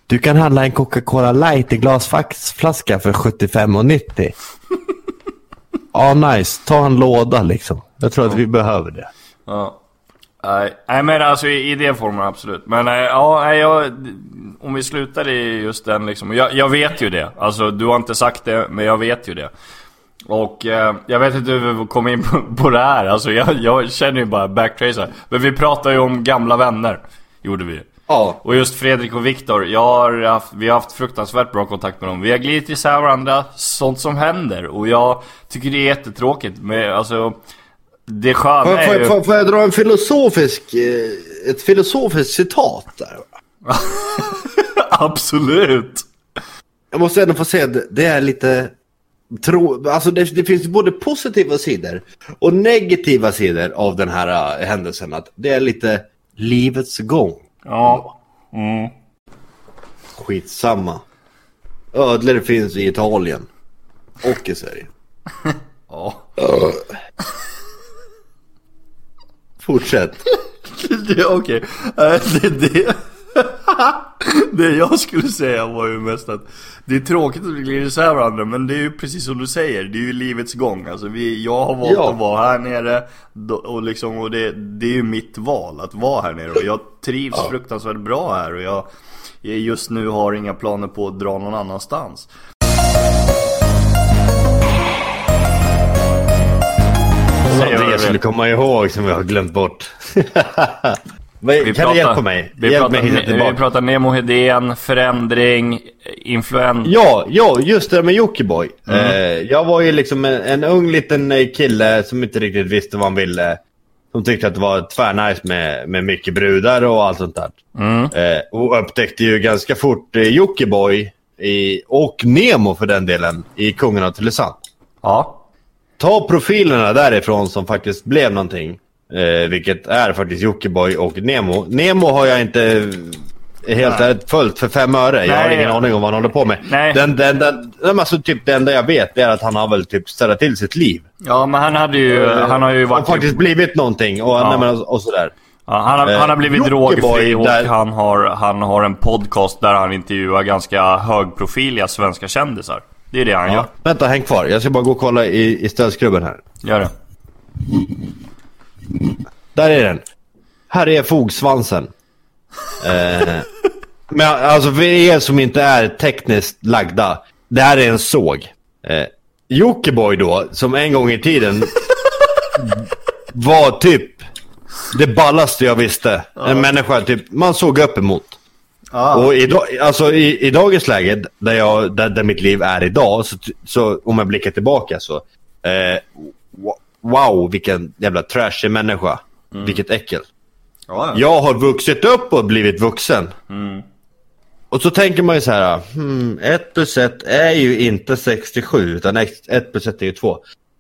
S3: Du kan handla en Coca-Cola light i glasflaska för 75,90. Ja, nice. Ta en låda liksom. Jag tror att vi behöver det.
S1: Ja. Nej, nej men alltså i, i den formen absolut. Men nej, ja, nej, jag, om vi slutar i just den liksom. Jag, jag vet ju det. Alltså du har inte sagt det, men jag vet ju det. Och eh, jag vet inte hur vi kom in på, på det här. Alltså jag, jag känner ju bara backtracer. Men vi pratar ju om gamla vänner. Gjorde vi.
S4: Ja.
S1: Och just Fredrik och Viktor, jag har haft, vi har haft fruktansvärt bra kontakt med dem. Vi har glidit isär varandra, sånt som händer. Och jag tycker det är jättetråkigt. Men alltså, det sköna
S3: Får,
S1: är ju...
S3: får, får, får jag dra en filosofisk, eh, ett filosofiskt citat där? va?
S1: Absolut!
S3: Jag måste ändå få säga att det är lite... Tro, alltså det, det finns både positiva sidor och negativa sidor av den här eh, händelsen. Att det är lite livets gång.
S1: Ja.
S3: Skitsamma. Ödlor finns i Italien. Och i Sverige.
S1: ja.
S3: Fortsätt.
S1: Det- Okej, Eh, det, det, det jag skulle säga var ju mest att det är tråkigt att vi glider isär varandra men det är ju precis som du säger, det är ju livets gång. Alltså vi, jag har valt
S3: Ja.
S1: att vara här nere då- och, liksom, och det, det är ju mitt val att vara här nere och jag trivs fruktansvärt bra här och jag jag just nu har inga planer på att dra någon annanstans. Säger jag
S3: det
S1: väl.
S3: jag skulle komma ihåg som jag har glömt bort. Men, kan
S1: pratar-
S3: du hjälpa mig?
S1: Vi
S3: Hjälp
S1: pratar,
S3: mig hitta
S1: vi
S3: tillbaka.
S1: pratar Nemo Hedén, förändring, influensa.
S3: Ja, ja, just det där med Jockiboi. Eh, jag var ju liksom en, en ung liten eh, kille som inte riktigt visste vad han ville. Som tyckte att det var tvärnice med, med mycket brudar och allt sånt där. Eh, och upptäckte ju ganska fort eh, Jockiboi i- och Nemo för den delen i Kungen av Tylösand.
S1: ja.
S3: Ta profilerna därifrån som faktiskt blev någonting. Eh, vilket är faktiskt Jockiboi och Nemo. Nemo har jag inte eh, helt ärligt följt för fem öre. jag har
S1: Nej.
S3: ingen aning om vad han håller på med.
S1: Nej.
S3: Den, den, den, den, alltså typ, det enda jag vet är att han har väl typ ställt till sitt liv.
S1: Ja, men han hade ju, han har ju varit
S3: och faktiskt blivit någonting och, nej, men, och, och sådär.
S1: ja, han, har,
S3: eh,
S1: han har blivit
S3: Jockiboi
S1: drogfri och
S3: där-
S1: han, har, han har en podcast där han intervjuar ganska högprofiliga svenska kändisar. Det är det han gör.
S3: Vänta, häng kvar. Jag ska bara gå och kolla i, i stödskrubben här.
S1: Gör det.
S3: Där är den. Här är fogsvansen. eh, men alltså för er som inte är tekniskt lagda. Det här är en såg. Eh, Jockiboi då, som en gång i tiden var typ det ballaste jag visste. En människa typ, man såg upp emot. Och idag, alltså i, i dagens läge, där, jag, där, där mitt liv är idag, så, så om jag blickar tillbaka så... Eh, wo- wow, vilken jävla trashig människa. Vilket äckel. Jag har vuxit upp och blivit vuxen. Och så tänker man ju så här, hmm, 1 plus 1 är ju inte 67 utan 1 plus 1 är ju 2.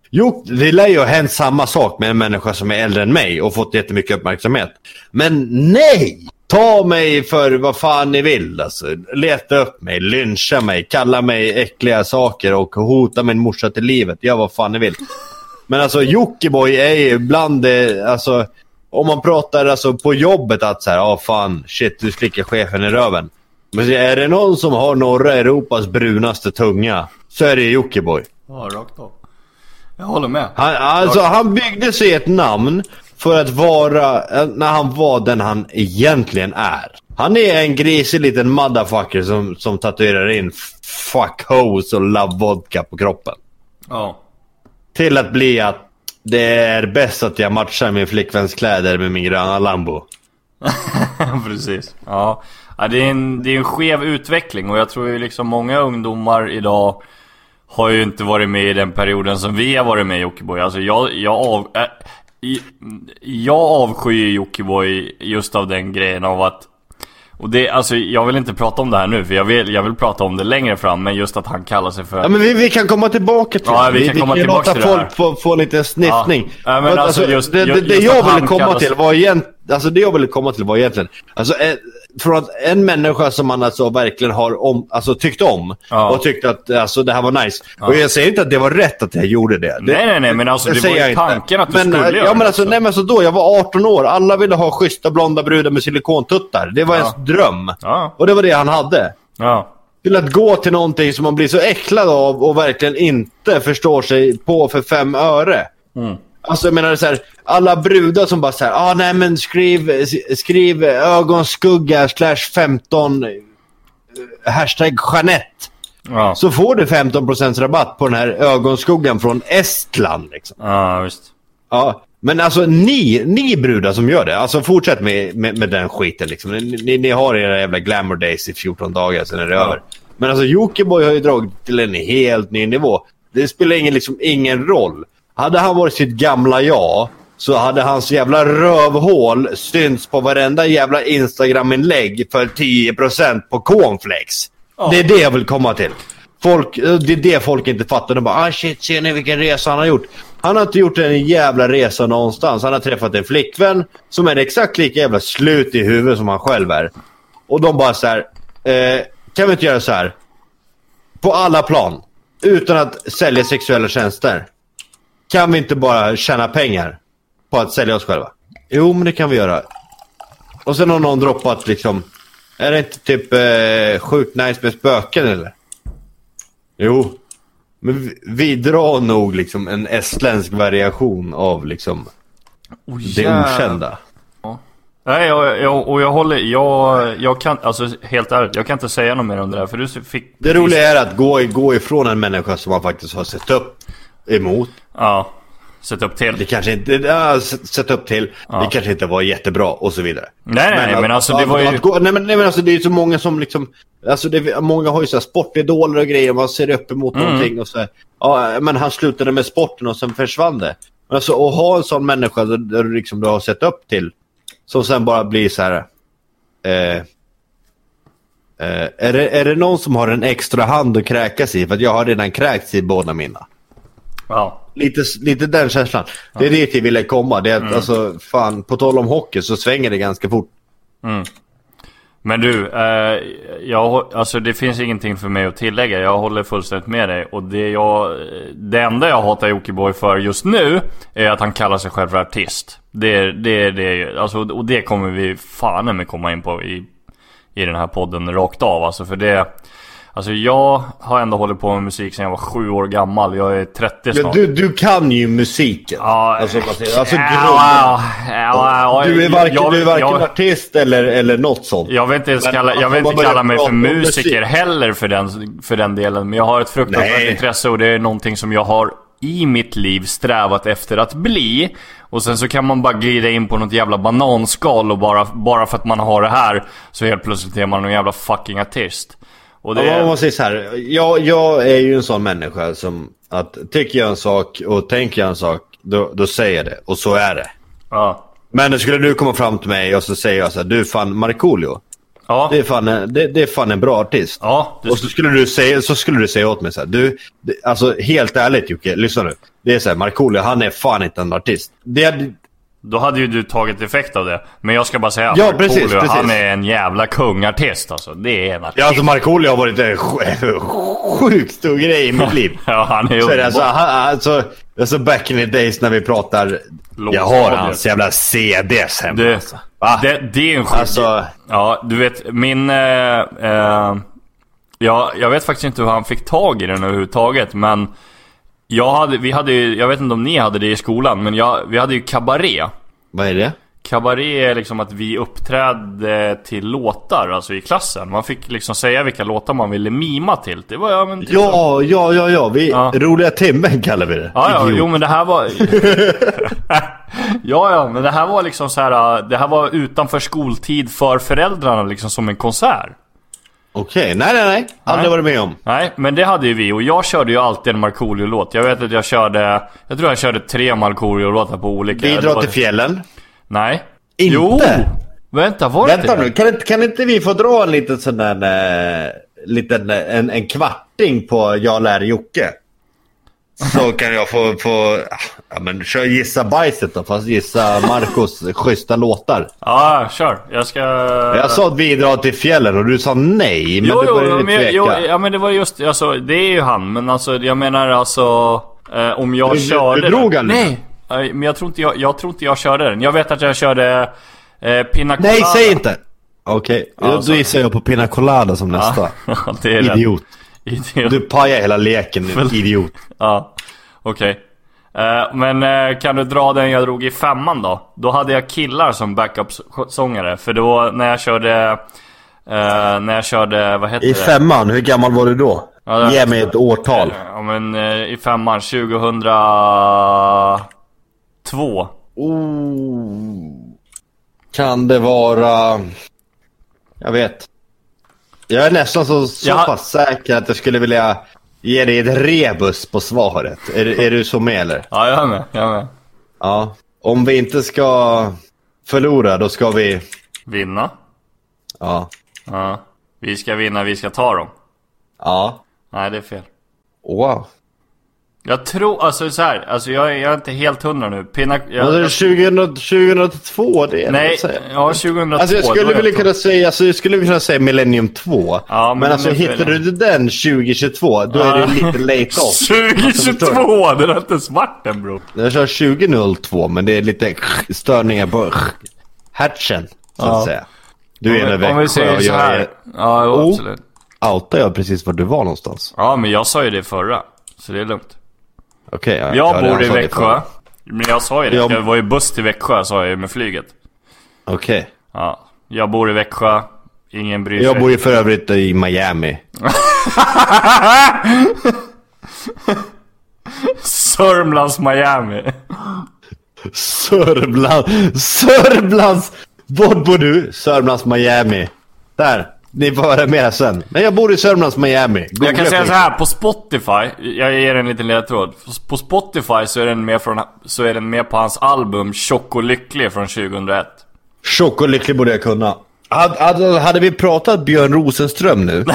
S3: Jo, det lär ju ha hänt samma sak med en människa som är äldre än mig och fått jättemycket uppmärksamhet. Men nej! Ta mig för vad fan ni vill alltså. Leta upp mig, lyncha mig, kalla mig äckliga saker och hota min morsa till livet. Gör vad fan ni vill. Men alltså Jockiboi är ju bland det, alltså om man pratar alltså på jobbet att så här, ja fan, shit du slickar chefen i röven. Men så är det någon som har norra Europas brunaste tunga så är det Jockiboi.
S1: Ja, rakt av. Jag håller med.
S3: Han, alltså han byggde sig ett namn för att vara, eh, när han var den han egentligen är. Han är en grisig liten motherfucker som, som tatuerar in f- fuck hoes och love vodka på kroppen.
S1: Ja.
S3: Till att bli att det är bäst att jag matchar min flickväns kläder med min gröna Lambo.
S1: Precis. Ja. ja det, är en, det är en skev utveckling och jag tror ju liksom många ungdomar idag har ju inte varit med i den perioden som vi har varit med i Jockiboi. Alltså jag, jag, av, äh, i- jag avskyr Jockiboi just av den grejen av att och det, alltså jag vill inte prata om det här nu för jag vill, jag vill prata om det längre fram men just att han kallar sig för...
S3: Ja, men vi, vi kan komma tillbaka till
S1: Ja,
S3: det.
S1: vi kan komma tillbaka
S3: låta
S1: till det här.
S3: folk få, få lite sniffning.
S1: Ja. Ja, men
S3: För att,
S1: alltså, just-
S3: det, det,
S1: just
S3: det
S1: att
S3: jag
S1: han
S3: ville komma
S1: kallas-
S3: till var egent, alltså det jag ville komma till var egentligen, alltså eh, från att en människa som man alltså verkligen har om, alltså tyckt om
S1: Ja.
S3: och tyckte att alltså, det här var nice. Och jag säger inte att det var rätt att jag gjorde det. det
S1: nej nej nej men alltså
S3: det
S1: det var
S3: säger
S1: ju
S3: jag inte.
S1: tanken att du
S3: men,
S1: skulle
S3: eh,
S1: göra
S3: ja, men
S1: det,
S3: alltså,
S1: så.
S3: nej, men alltså då, jag var 18 år. Alla ville ha schyssta blonda brudar med silikontuttar. Det var ens dröm.
S1: Ja.
S3: Och det var det han hade.
S1: Ja.
S3: Till att gå till någonting som
S1: Mm.
S3: man blir så äcklad av och verkligen inte förstår sig på för fem öre. Alltså jag menar så här, alla brudar som bara så här, ah, nej men skriv, s- skriv ögonskugga slash 15 eh, hashtag Jeanette.
S1: Ja,
S3: Så får du 15% rabatt på den här ögonskuggan från Estland liksom.
S1: ja visst.
S3: Ja, men alltså ni, ni brudar som gör det, alltså fortsätt med, med, med den skiten liksom. Ni, ni, ni har era jävla glamour days i 14 dagar, sen är det över. Men alltså Jockiboi har ju dragit till en helt ny nivå. Det spelar ingen, liksom, ingen roll. Hade han varit sitt gamla jag så hade hans jävla rövhål synts på varenda jävla Instagram-inlägg för 10% på cornflakes. Det är det jag vill komma till. Folk, eh, det är det folk inte fattar. De bara ah shit, ser ni vilken resa han har gjort? Han har inte gjort en jävla resa någonstans. Han har träffat en flickvän som är exakt lika jävla slut i huvudet som han själv är. Och de bara så här, eh, kan vi inte göra så här? På alla plan, utan att sälja sexuella tjänster. Kan vi inte bara tjäna pengar på att sälja oss själva? Jo, men det kan vi göra. Och sen har någon droppat liksom, är det inte typ eh, sjukt nice med spöken eller? Jo. Men vi, vi drar nog liksom en estländsk variation av liksom
S1: Oh,
S3: det okända.
S1: Nej, jag, jag, och jag håller... Jag, jag kan... Alltså helt ärligt, jag kan inte säga något mer om det där. För du fick...
S3: Det roliga är att gå, gå ifrån en människa som man faktiskt har sett upp emot.
S1: Ja. Sätt upp till.
S3: Det kanske inte, ja, s- sett upp till, det kanske inte var jättebra och så vidare.
S1: Nej, nej, nej, men alltså det
S3: att-
S1: var ju...
S3: Att gå, nej, men, nej men alltså det är ju så många som liksom, alltså det, många har ju så här sportidoler och grejer, man ser upp emot
S1: Mm.
S3: någonting och så här, ja men han slutade med sporten och sen försvann det. Men alltså att ha en sån människa där, där du liksom du har sett upp till, som sen bara blir så här. Eh, eh, är, det, är det någon som har en extra hand att kräkas i? För att jag har redan kräkts i båda mina.
S1: Ja.
S3: Lite, lite den känslan. Det är dit jag ville komma. Det är att,
S1: Mm.
S3: alltså, fan, på tal om hockey så svänger det ganska fort.
S1: Men du, eh, jag, hå- alltså det finns ingenting för mig att tillägga. Jag håller fullständigt med dig. Och det, jag, det enda jag hatar Jockiboi för just nu är att han kallar sig själv för artist. Det, är- det, är- det, är- alltså, och det kommer vi fan i mig komma in på i, i den här podden rakt av. Alltså, för det, alltså jag har ändå hållit på med musik sedan jag var sju år gammal. Jag är 30
S3: Men
S1: snart.
S3: du, du kan ju musiken.
S1: Ja,
S3: alltså, man säger- alltså
S1: ja,
S3: grunden.
S1: ja, ja, ja,
S3: Du är varken,
S1: jag-
S3: du är varken
S1: jag-
S3: artist eller, eller något sånt.
S1: Jag vill inte, ens
S3: Men
S1: kalla,
S3: att
S1: jag vill
S3: man
S1: inte
S3: börjar
S1: kalla mig
S3: prata
S1: för
S3: om
S1: musiker
S3: musik.
S1: heller för den, för den delen. Men jag har ett fruktansvärt
S3: Nej.
S1: intresse och det är någonting som jag har i mitt liv strävat efter att bli. Och sen så kan man bara glida in på något jävla bananskal och bara, bara för att man har det här så helt plötsligt är man någon jävla fucking artist. Och det,
S3: Ja, men man säger så här, jag, jag är ju en sån människa som att tycker jag en sak och tänker jag en sak, då, då säger jag det. Och så är det.
S1: ja.
S3: Men skulle du komma fram till mig och så säger jag så här, du fan Markoolio,
S1: Ja,
S3: det, är fan en- det, det är fan en bra artist.
S1: ja, du,
S3: Och så skulle du säga, så skulle du säga åt mig så här, du, det- alltså helt ärligt Jocke, lyssna nu. Det är så här, Markoolio han är fan inte en artist. Det hade,
S1: då hade ju du tagit effekt av det. Men jag ska bara säga
S3: Ja,
S1: Markoolio,
S3: precis, precis.
S1: han är en jävla kungartist alltså. Det är en artist.
S3: ja, alltså Markoolio har varit en sj- sjukt stor grej i mitt liv.
S1: Ja, han är
S3: Så är det
S1: underbar.
S3: alltså, han, alltså, alltså back in the days när vi pratar,
S1: Låt
S3: jag har
S1: ta det.
S3: hans jävla CDs hemma.
S1: Du,
S3: alltså. Va?
S1: det, det är en sjuk...
S3: Alltså-
S1: Ja, du vet min... Eh, eh, ja, jag vet faktiskt inte hur han fick tag i den överhuvudtaget, men... Jag hade, vi hade ju, jag vet inte om ni hade det i skolan, men jag, vi hade ju kabaré.
S3: Vad är det?
S1: Kabaré är liksom att vi uppträdde till låtar, alltså i klassen. Man fick liksom säga vilka låtar man ville mima till. Det var ja, men typ
S3: Ja, ja, ja, ja. Vi,
S1: Ja.
S3: Roliga timmen kallar vi det.
S1: Ja, ja,
S3: Idiot.
S1: jo men det här var... ja, ja, men det här var liksom så här. äh, Det här var utanför skoltid för föräldrarna liksom som en konsert.
S3: Okej, nej, nej, nej. Aldrig
S1: Nej.
S3: varit med om.
S1: Nej, men det hade ju vi och jag körde ju alltid en Markoolio-låt. Jag vet att jag körde... Jag tror jag körde tre Markoolio-låtar på olika...
S3: Vi
S1: det
S3: drar
S1: var-
S3: till fjällen.
S1: Nej.
S3: Inte?
S1: Jo! Vänta, var det
S3: Vänta
S1: inte det?
S3: nu, kan inte, kan inte vi få dra en liten sån där... Eh, liten, eh, en, en kvarting på Jag lär Jocke? Så kan jag få... få ah, ja, men kör gissa bajset då, fast gissa Marcos schyssta låtar.
S1: Ja, kör. Jag ska...
S3: Jag sa att vi drar till fjällen och du sa nej, men
S1: Jo,
S3: du
S1: jo,
S3: började
S1: men, jag-
S3: tveka.
S1: jo, ja, men det var just... Alltså, det är ju han, men alltså jag menar alltså... Eh, om jag
S3: Du- du-
S1: körde...
S3: du drog
S1: den.
S3: han?
S1: Nej! Eh, Men jag tror, inte jag, jag tror inte jag körde den. Jag vet att jag körde... Eh, Pina
S3: nej,
S1: Colada.
S3: säg inte! Okej, då
S1: sorry.
S3: gissar jag på Pina Colada som nästa.
S1: Ja, det är rätt.
S3: Idiot.
S1: Idiot.
S3: Du pajar hela leken, idiot.
S1: Ja, okej. Eh, Men eh, kan du dra den jag drog i femman då? Då hade jag killar som backup-sångare. För då när jag körde... eh, när jag körde, vad heter
S3: I
S1: det?
S3: femman, hur gammal var du då?
S1: Ja, det-
S3: Ge mig ett årtal.
S1: Ja men eh, i femman, 2002.
S3: Oh. Kan det vara... Jag vet. Jag är nästan så, så
S1: Jag-
S3: pass säker att jag skulle vilja ge dig ett rebus på svaret. Är, är du så med eller?
S1: Ja jag är med, jag är med.
S3: Ja. Om vi inte ska förlora, då ska vi...
S1: Vinna.
S3: Ja.
S1: Ja. Vi ska vinna, vi ska ta dem.
S3: Ja.
S1: Nej det är fel.
S3: Wow.
S1: Jag tror, alltså så här, alltså jag, är- jag är inte helt hundra nu. Pina, jag,
S3: Alltså, 2000, 2002, det är det
S1: nej,
S3: jag säger.
S1: ja 2002.
S3: Alltså jag
S1: då är
S3: skulle vilja kunna säga, alltså, jag skulle vilja kunna säga Millennium 2.
S1: Ja, men
S3: men,
S1: den
S3: alltså
S1: är fel.
S3: hittar du den 2022, då är det lite late off.
S1: 2022! Den har inte ens varit än bro.
S3: Jag kör 2002, men det är lite störningar på hatchen, så att
S1: Ja.
S3: säga. Du är en
S1: Om vi säger
S3: Växjö och
S1: så
S3: jag är...
S1: här. Ja jo,
S3: Oh.
S1: absolut.
S3: Outar jag precis var du var någonstans?
S1: Ja men jag sa ju det förra. Så det är lugnt.
S3: Okej, ja,
S1: Jag
S3: ja, det alltså
S1: bor i
S3: sa det
S1: Växjö.
S3: förut.
S1: Men jag sa ju det,
S3: Jag-
S1: jag var ju buss till Växjö sa jag ju med flyget.
S3: Okej.
S1: Ja, jag bor i Växjö. Ingen bryr
S3: Jag
S1: sig.
S3: bor ju för övrigt i Miami.
S1: Sörmlands Miami.
S3: Sörmland, Sörmlands... Var bor du? Sörmlands Miami. Där. Ni får höra mer sen. Men jag bor i Sörmlands Miami. Googla
S1: Jag kan säga
S3: skit.
S1: så här, på Spotify, jag ger en liten ledtråd. På Spotify så är den med, från, så är den med på hans album Tjock och lycklig från 2001.
S3: Tjock och lycklig borde jag kunna. Hade, hade, hade vi pratat Björn Rosenström nu,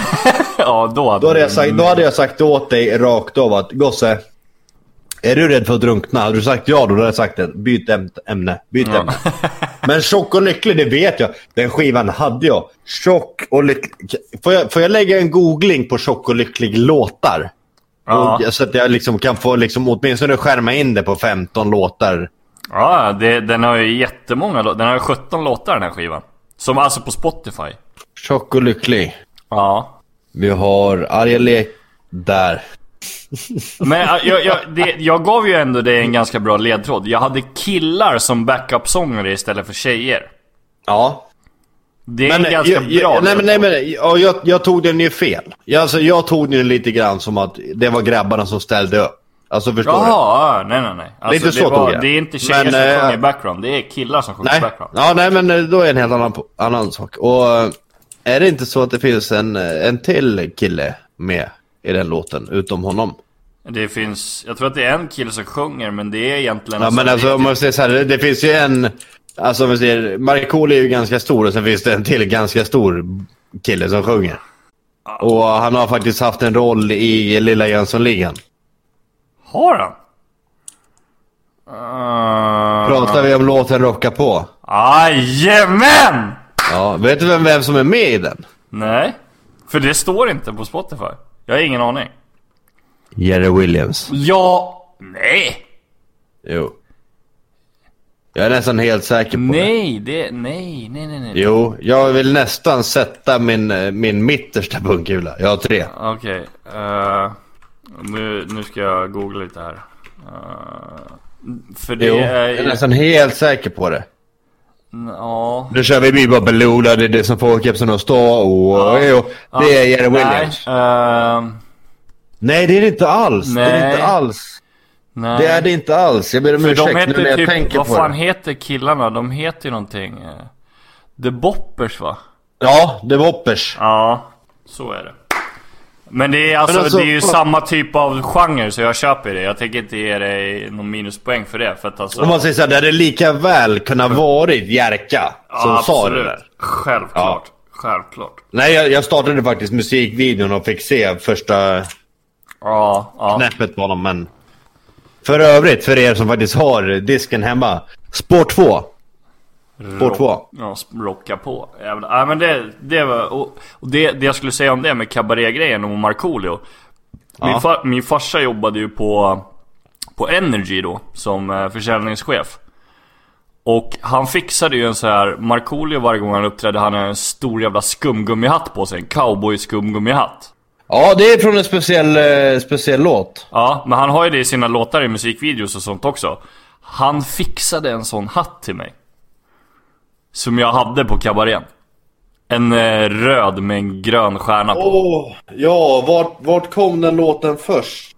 S1: Ja, då hade,
S3: då hade, jag sagt, då hade jag sagt åt dig rakt av att gosse, är du rädd för att drunkna? Hade du sagt ja då, då hade jag sagt det. Byt äm- ämne, byt ämne. Men tjock och lycklig, det vet jag. Den skivan hade jag. Tjock och lycklig. Får jag, får jag lägga en googling på tjock och lycklig låtar?
S1: Ja,
S3: Och, så att jag liksom kan få liksom, åtminstone skärma in det på 15 låtar.
S1: ja det, den har ju jättemånga låtar. Den har ju 17 låtar den här skivan. Som alltså på Spotify.
S3: Tjock och lycklig.
S1: Ja.
S3: Vi har arga lek... Där.
S1: Men äh, jag, jag, det, jag gav ju ändå dig en ganska bra ledtråd. Jag hade killar som backup-sångare istället för tjejer.
S3: Ja,
S1: Det är
S3: Men, eh,
S1: en ganska
S3: jag,
S1: bra
S3: jag, nej, men, nej,
S1: ledtråd.
S3: men, eh, ja, jag, jag tog den ju fel. Jag, alltså, jag tog den lite grann som att det var grabbarna som ställde upp. Alltså förstår du?
S1: Jaha, ja, nej nej nej. Alltså,
S3: Lite
S1: det,
S3: så
S1: var,
S3: tog jag.
S1: det är inte tjejer
S3: Men,
S1: som
S3: eh,
S1: sjunger background, det är killar som sjunger
S3: Nej.
S1: background.
S3: Ja, nej, men eh, då är det en helt annan, po- annan sak. Och eh, är det inte så att det finns en, eh, en till kille med i den låten, utom honom?
S1: Det finns, jag tror att det är en kille som sjunger men det är egentligen...
S3: Ja, men alltså
S1: det,
S3: om man säger så här, det, det finns ju en... Alltså om vi säger, Markoolio är ju ganska stor och sen finns det en till ganska stor kille som sjunger. Och han har faktiskt haft en roll i Lilla Jönssonligan.
S1: Har han? Uh,
S3: Pratar vi om låten Rocka på?
S1: Ah, Jajamän!
S3: Ja, vet du vem, vem som är med i den?
S1: Nej, för det står inte på Spotify. Jag har ingen aning.
S3: Jerry Williams.
S1: Ja, nej,
S3: Jo. Jag är nästan helt säker på det.
S1: nej, det, nej, nej, nej, nej.
S3: Jo, jag vill nästan sätta min, eh, min mittersta pungkula. Jag har tre.
S1: Okej, eh, nu, nu ska jag googla lite här. Eh, för det
S3: Jo,
S1: är
S3: jag är nästan helt säker på det.
S1: Ja.
S3: Nu kör vi Vi bara Beloda, det är det som får kepsen att stå. Och, jo, det är Jerry Williams.
S1: Nej, ehm,
S3: Nej, det är det inte alls. Det är det
S1: Nej.
S3: inte alls.
S1: nej.
S3: Det är det inte alls. Jag ber om
S1: För
S3: ursäkt
S1: de
S3: nu när
S1: heter
S3: jag
S1: typ,
S3: tänker
S1: vad
S3: på
S1: fan
S3: det.
S1: heter killarna? De heter ju någonting. eh, The Boppers va?
S3: Ja, det var Hoppers.
S1: Ja, så är det. Men det är, alltså,
S3: Men alltså,
S1: det är ju
S3: vad-
S1: samma typ av genre så jag köper det. Jag tänker inte ge dig någon minuspoäng för det. För att alltså...
S3: Om man säger såhär, det hade lika väl kunnat varit Jerka som
S1: ja,
S3: sa det
S1: absolut.
S3: där.
S1: Självklart. Självklart.
S3: Nej, jag, jag startade faktiskt musikvideon och fick se första
S1: Ja, ja.
S3: knäppet på honom, men... För övrigt, för er som faktiskt har disken hemma. Spår 2. Spår 2.
S1: Ja, sp- rocka på. Jävlar. Ja, men det, det, var, och, och det, det jag skulle säga om det med kabarégrejen och Markoolio. Min,
S3: Ja.
S1: fa, min farsa jobbade ju på, på Energy då, som eh, försäljningschef. Och han fixade ju en så här Markoolio varje gång han uppträdde, han hade en stor jävla skumgummihatt på sig. En cowboy skumgummihatt.
S3: Ja, det är från en speciell, eh, speciell låt.
S1: Ja, men han har ju det i sina låtar i musikvideos och sånt också. Han fixade en sån hatt till mig. Som jag hade på kabarén. En eh, röd med en grön stjärna på.
S5: Åh, ja, vart, vart kom den låten först?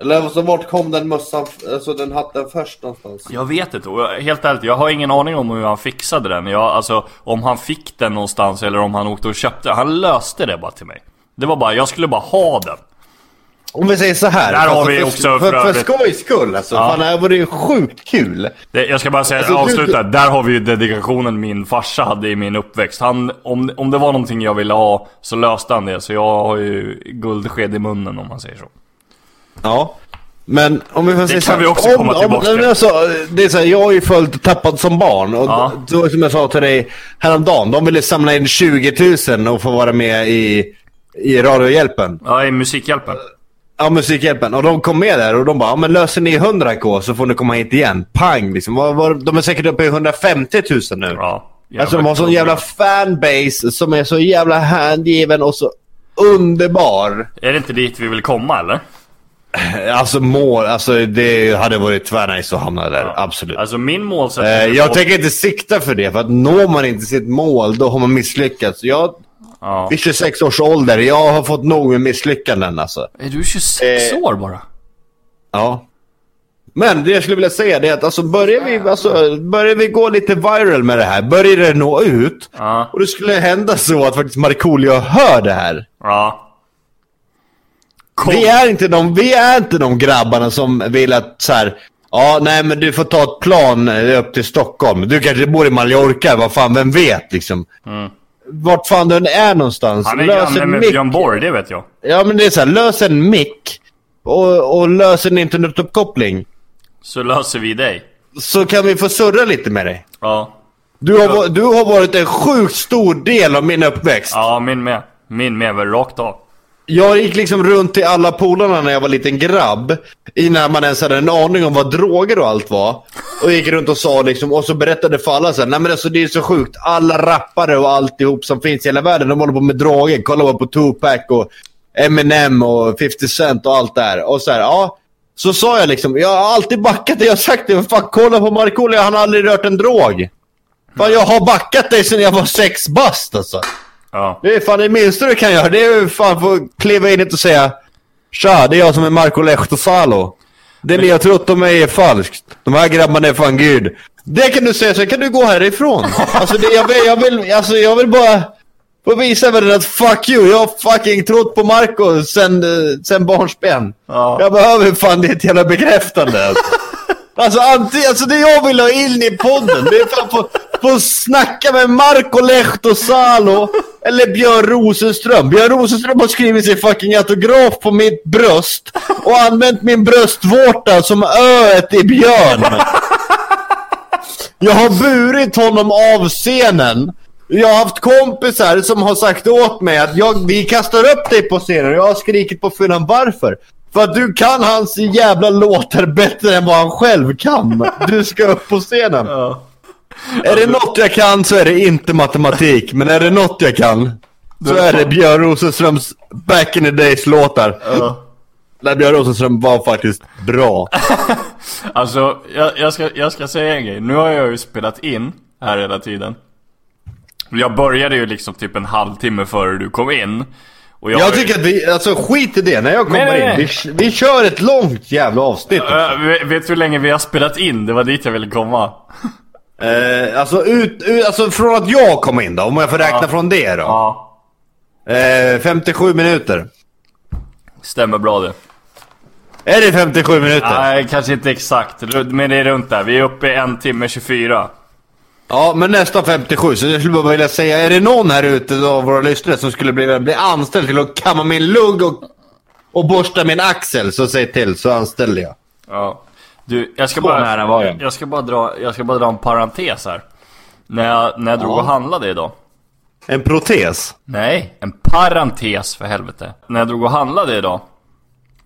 S5: Eller alltså, vart kom den mössan, f- alltså den hatten först någonstans?
S1: Jag vet inte, och jag, helt ärligt, jag har ingen aning om hur han fixade den. Jag, alltså, om han fick den någonstans eller om han åkte och köpte den. Han löste det bara till mig. Det var bara, jag skulle bara ha den.
S3: Om vi säger så här. alltså,
S1: Där har vi
S3: för,
S1: också
S3: för,
S1: för
S3: för,
S1: övrigt-
S3: skojs skull alltså. Fan, det här vore ju sjukt kul.
S1: Det, jag ska bara säga,
S3: Alltså, du-
S1: avsluta. Där har vi ju dedikationen min farsa hade i min uppväxt. Han, om, om det var någonting jag ville ha så löste han det. Så jag har ju guldsked i munnen om man säger så.
S3: Ja. Men om vi får säga
S1: kan
S3: så här,
S1: vi också
S3: om,
S1: komma
S3: om,
S1: tillbaka
S3: nej, men
S1: till.
S3: alltså, det är så här, jag har ju följt Tappad som barn. Och
S1: Ja.
S3: då, som jag sa till dig häromdagen, de ville samla in 20 000 och få vara med i, i Radiohjälpen.
S1: Ja, i Musikhjälpen.
S3: Ja, Musikhjälpen. Och de kom med där och de bara, ja, men löser ni 100K så får ni komma hit igen. Pang liksom. Vad var- De är säkert uppe i 150 000 nu.
S1: Ja.
S3: Alltså de har sån jävla fanbase som är så jävla hängiven och så underbar.
S1: Är det inte dit vi vill komma eller?
S3: Alltså mål, alltså det hade varit tvärnice att hamna där. Absolut.
S1: Alltså min målsättning...
S3: Eh, jag tänker inte sikta för det, för att når man inte sitt mål då har man misslyckats. Jag,
S1: Ja.
S3: vid 26 års ålder, jag har fått nog med misslyckanden alltså.
S1: Är du 26
S3: Eh.
S1: år bara?
S3: Ja. Men det jag skulle vilja säga det är att alltså, börjar, vi, alltså, börjar vi gå lite viral med det här, börjar det nå ut
S1: Ja.
S3: och det skulle hända så att faktiskt Markoolio hör det här.
S1: Ja. Kom.
S3: Vi är inte de, vi är inte de grabbarna som vill att så här, ja nej men du får ta ett plan eh, upp till Stockholm. Du kanske bor i Mallorca, vad fan, vem vet liksom. Vart fan du än är någonstans.
S1: Mm. Han är
S3: lös
S1: granne
S3: en
S1: med
S3: mick.
S1: Björn Borg, det vet jag.
S3: Ja men det är så här, lös en mick och, och lös en internetuppkoppling.
S1: Så löser vi dig.
S3: Så kan vi få surra lite med dig.
S1: Ja.
S3: Du har, va- du har varit en sjukt stor del av min uppväxt.
S1: Ja, min med. Min med, väl rakt av.
S3: Jag gick liksom runt till alla polarna när jag var liten grabb. Innan man ens hade en aning om vad droger och allt var. Och gick runt och sa liksom, och så berättade för alla så här, nej men alltså det är så sjukt. Alla rappare och alltihop som finns i hela världen, de håller på med droger. Kolla bara på Tupac och Eminem och 50 Cent och allt det här. Och så här, ja. Så sa jag liksom, jag har alltid backat dig. Jag har sagt det, men fan kolla på Markoolio, han har aldrig rört en drog. Fan jag har backat dig sedan jag var sex bast alltså.
S1: Ja.
S3: Det är fan det minsta du kan göra. Det är ju fan få kliva in hit och säga Tja, det är jag som är Marco Lehtosalo. Det ni har trott om mig är falskt. De här grabbarna är fan gud. Det kan du säga, sen kan du gå härifrån. Alltså, det, jag, vill, jag, vill, alltså jag vill bara få visa världen att fuck you, jag har fucking trott på Marco sen, eh, sen barnsben.
S1: Ja.
S3: Jag behöver fan ditt jävla bekräftande. Alltså. Alltså, anti, alltså det jag vill ha in i podden, det är fan få, få snacka med Marco Lehtosalo eller Björn Rosenström. Björn Rosenström har skrivit sin fucking autograf på mitt bröst och använt min bröstvårta som öet i björn. Jag har burit honom av scenen. Jag har haft kompisar som har sagt åt mig att jag, vi kastar upp dig på scenen och jag har skrikit på fyllan varför? För att du kan hans jävla låtar bättre än vad han själv kan. Du ska upp på scenen.
S1: Ja.
S3: Är det något jag kan så är det inte matematik, men är det något jag kan så är det Björn Rosenströms Back in the Days låtar. Där Björn Rosenström var faktiskt bra.
S1: Alltså, jag, jag, ska, jag ska säga en grej. Nu har jag ju spelat in här hela tiden. Jag började ju liksom typ en halvtimme före du kom in. Och jag,
S3: Jag tycker att vi, alltså skit i det när jag kommer
S1: Nej, nej,
S3: in. Vi, vi kör ett långt jävla avsnitt.
S1: Äh, vet- vet du hur länge vi har spelat in? Det var dit jag ville komma.
S3: Eh, alltså, ut, ut, alltså från att jag kom in då, om jag får räkna från det då.
S1: Ja.
S3: Eh, 57 minuter.
S1: Stämmer bra det.
S3: Är det 57 minuter?
S1: Nej, kanske inte exakt. Ru- Men det är runt där. Vi är uppe i en timme 24.
S3: Ja, men nästan 57. Så jag skulle bara vilja säga, är det någon här ute av våra lyssnare som skulle bli, bli anställd till att kamma min lugg och, och borsta min axel, så säg till så anställer jag.
S1: Ja. Du, jag ska
S3: Så
S1: bara...
S3: nära var jag.
S1: jag ska bara dra, jag ska bara dra en parentes här. När jag, när jag drog
S3: Ja.
S1: och handlade idag.
S3: En protes?
S1: Nej, en parentes för helvete. När jag drog och handlade idag.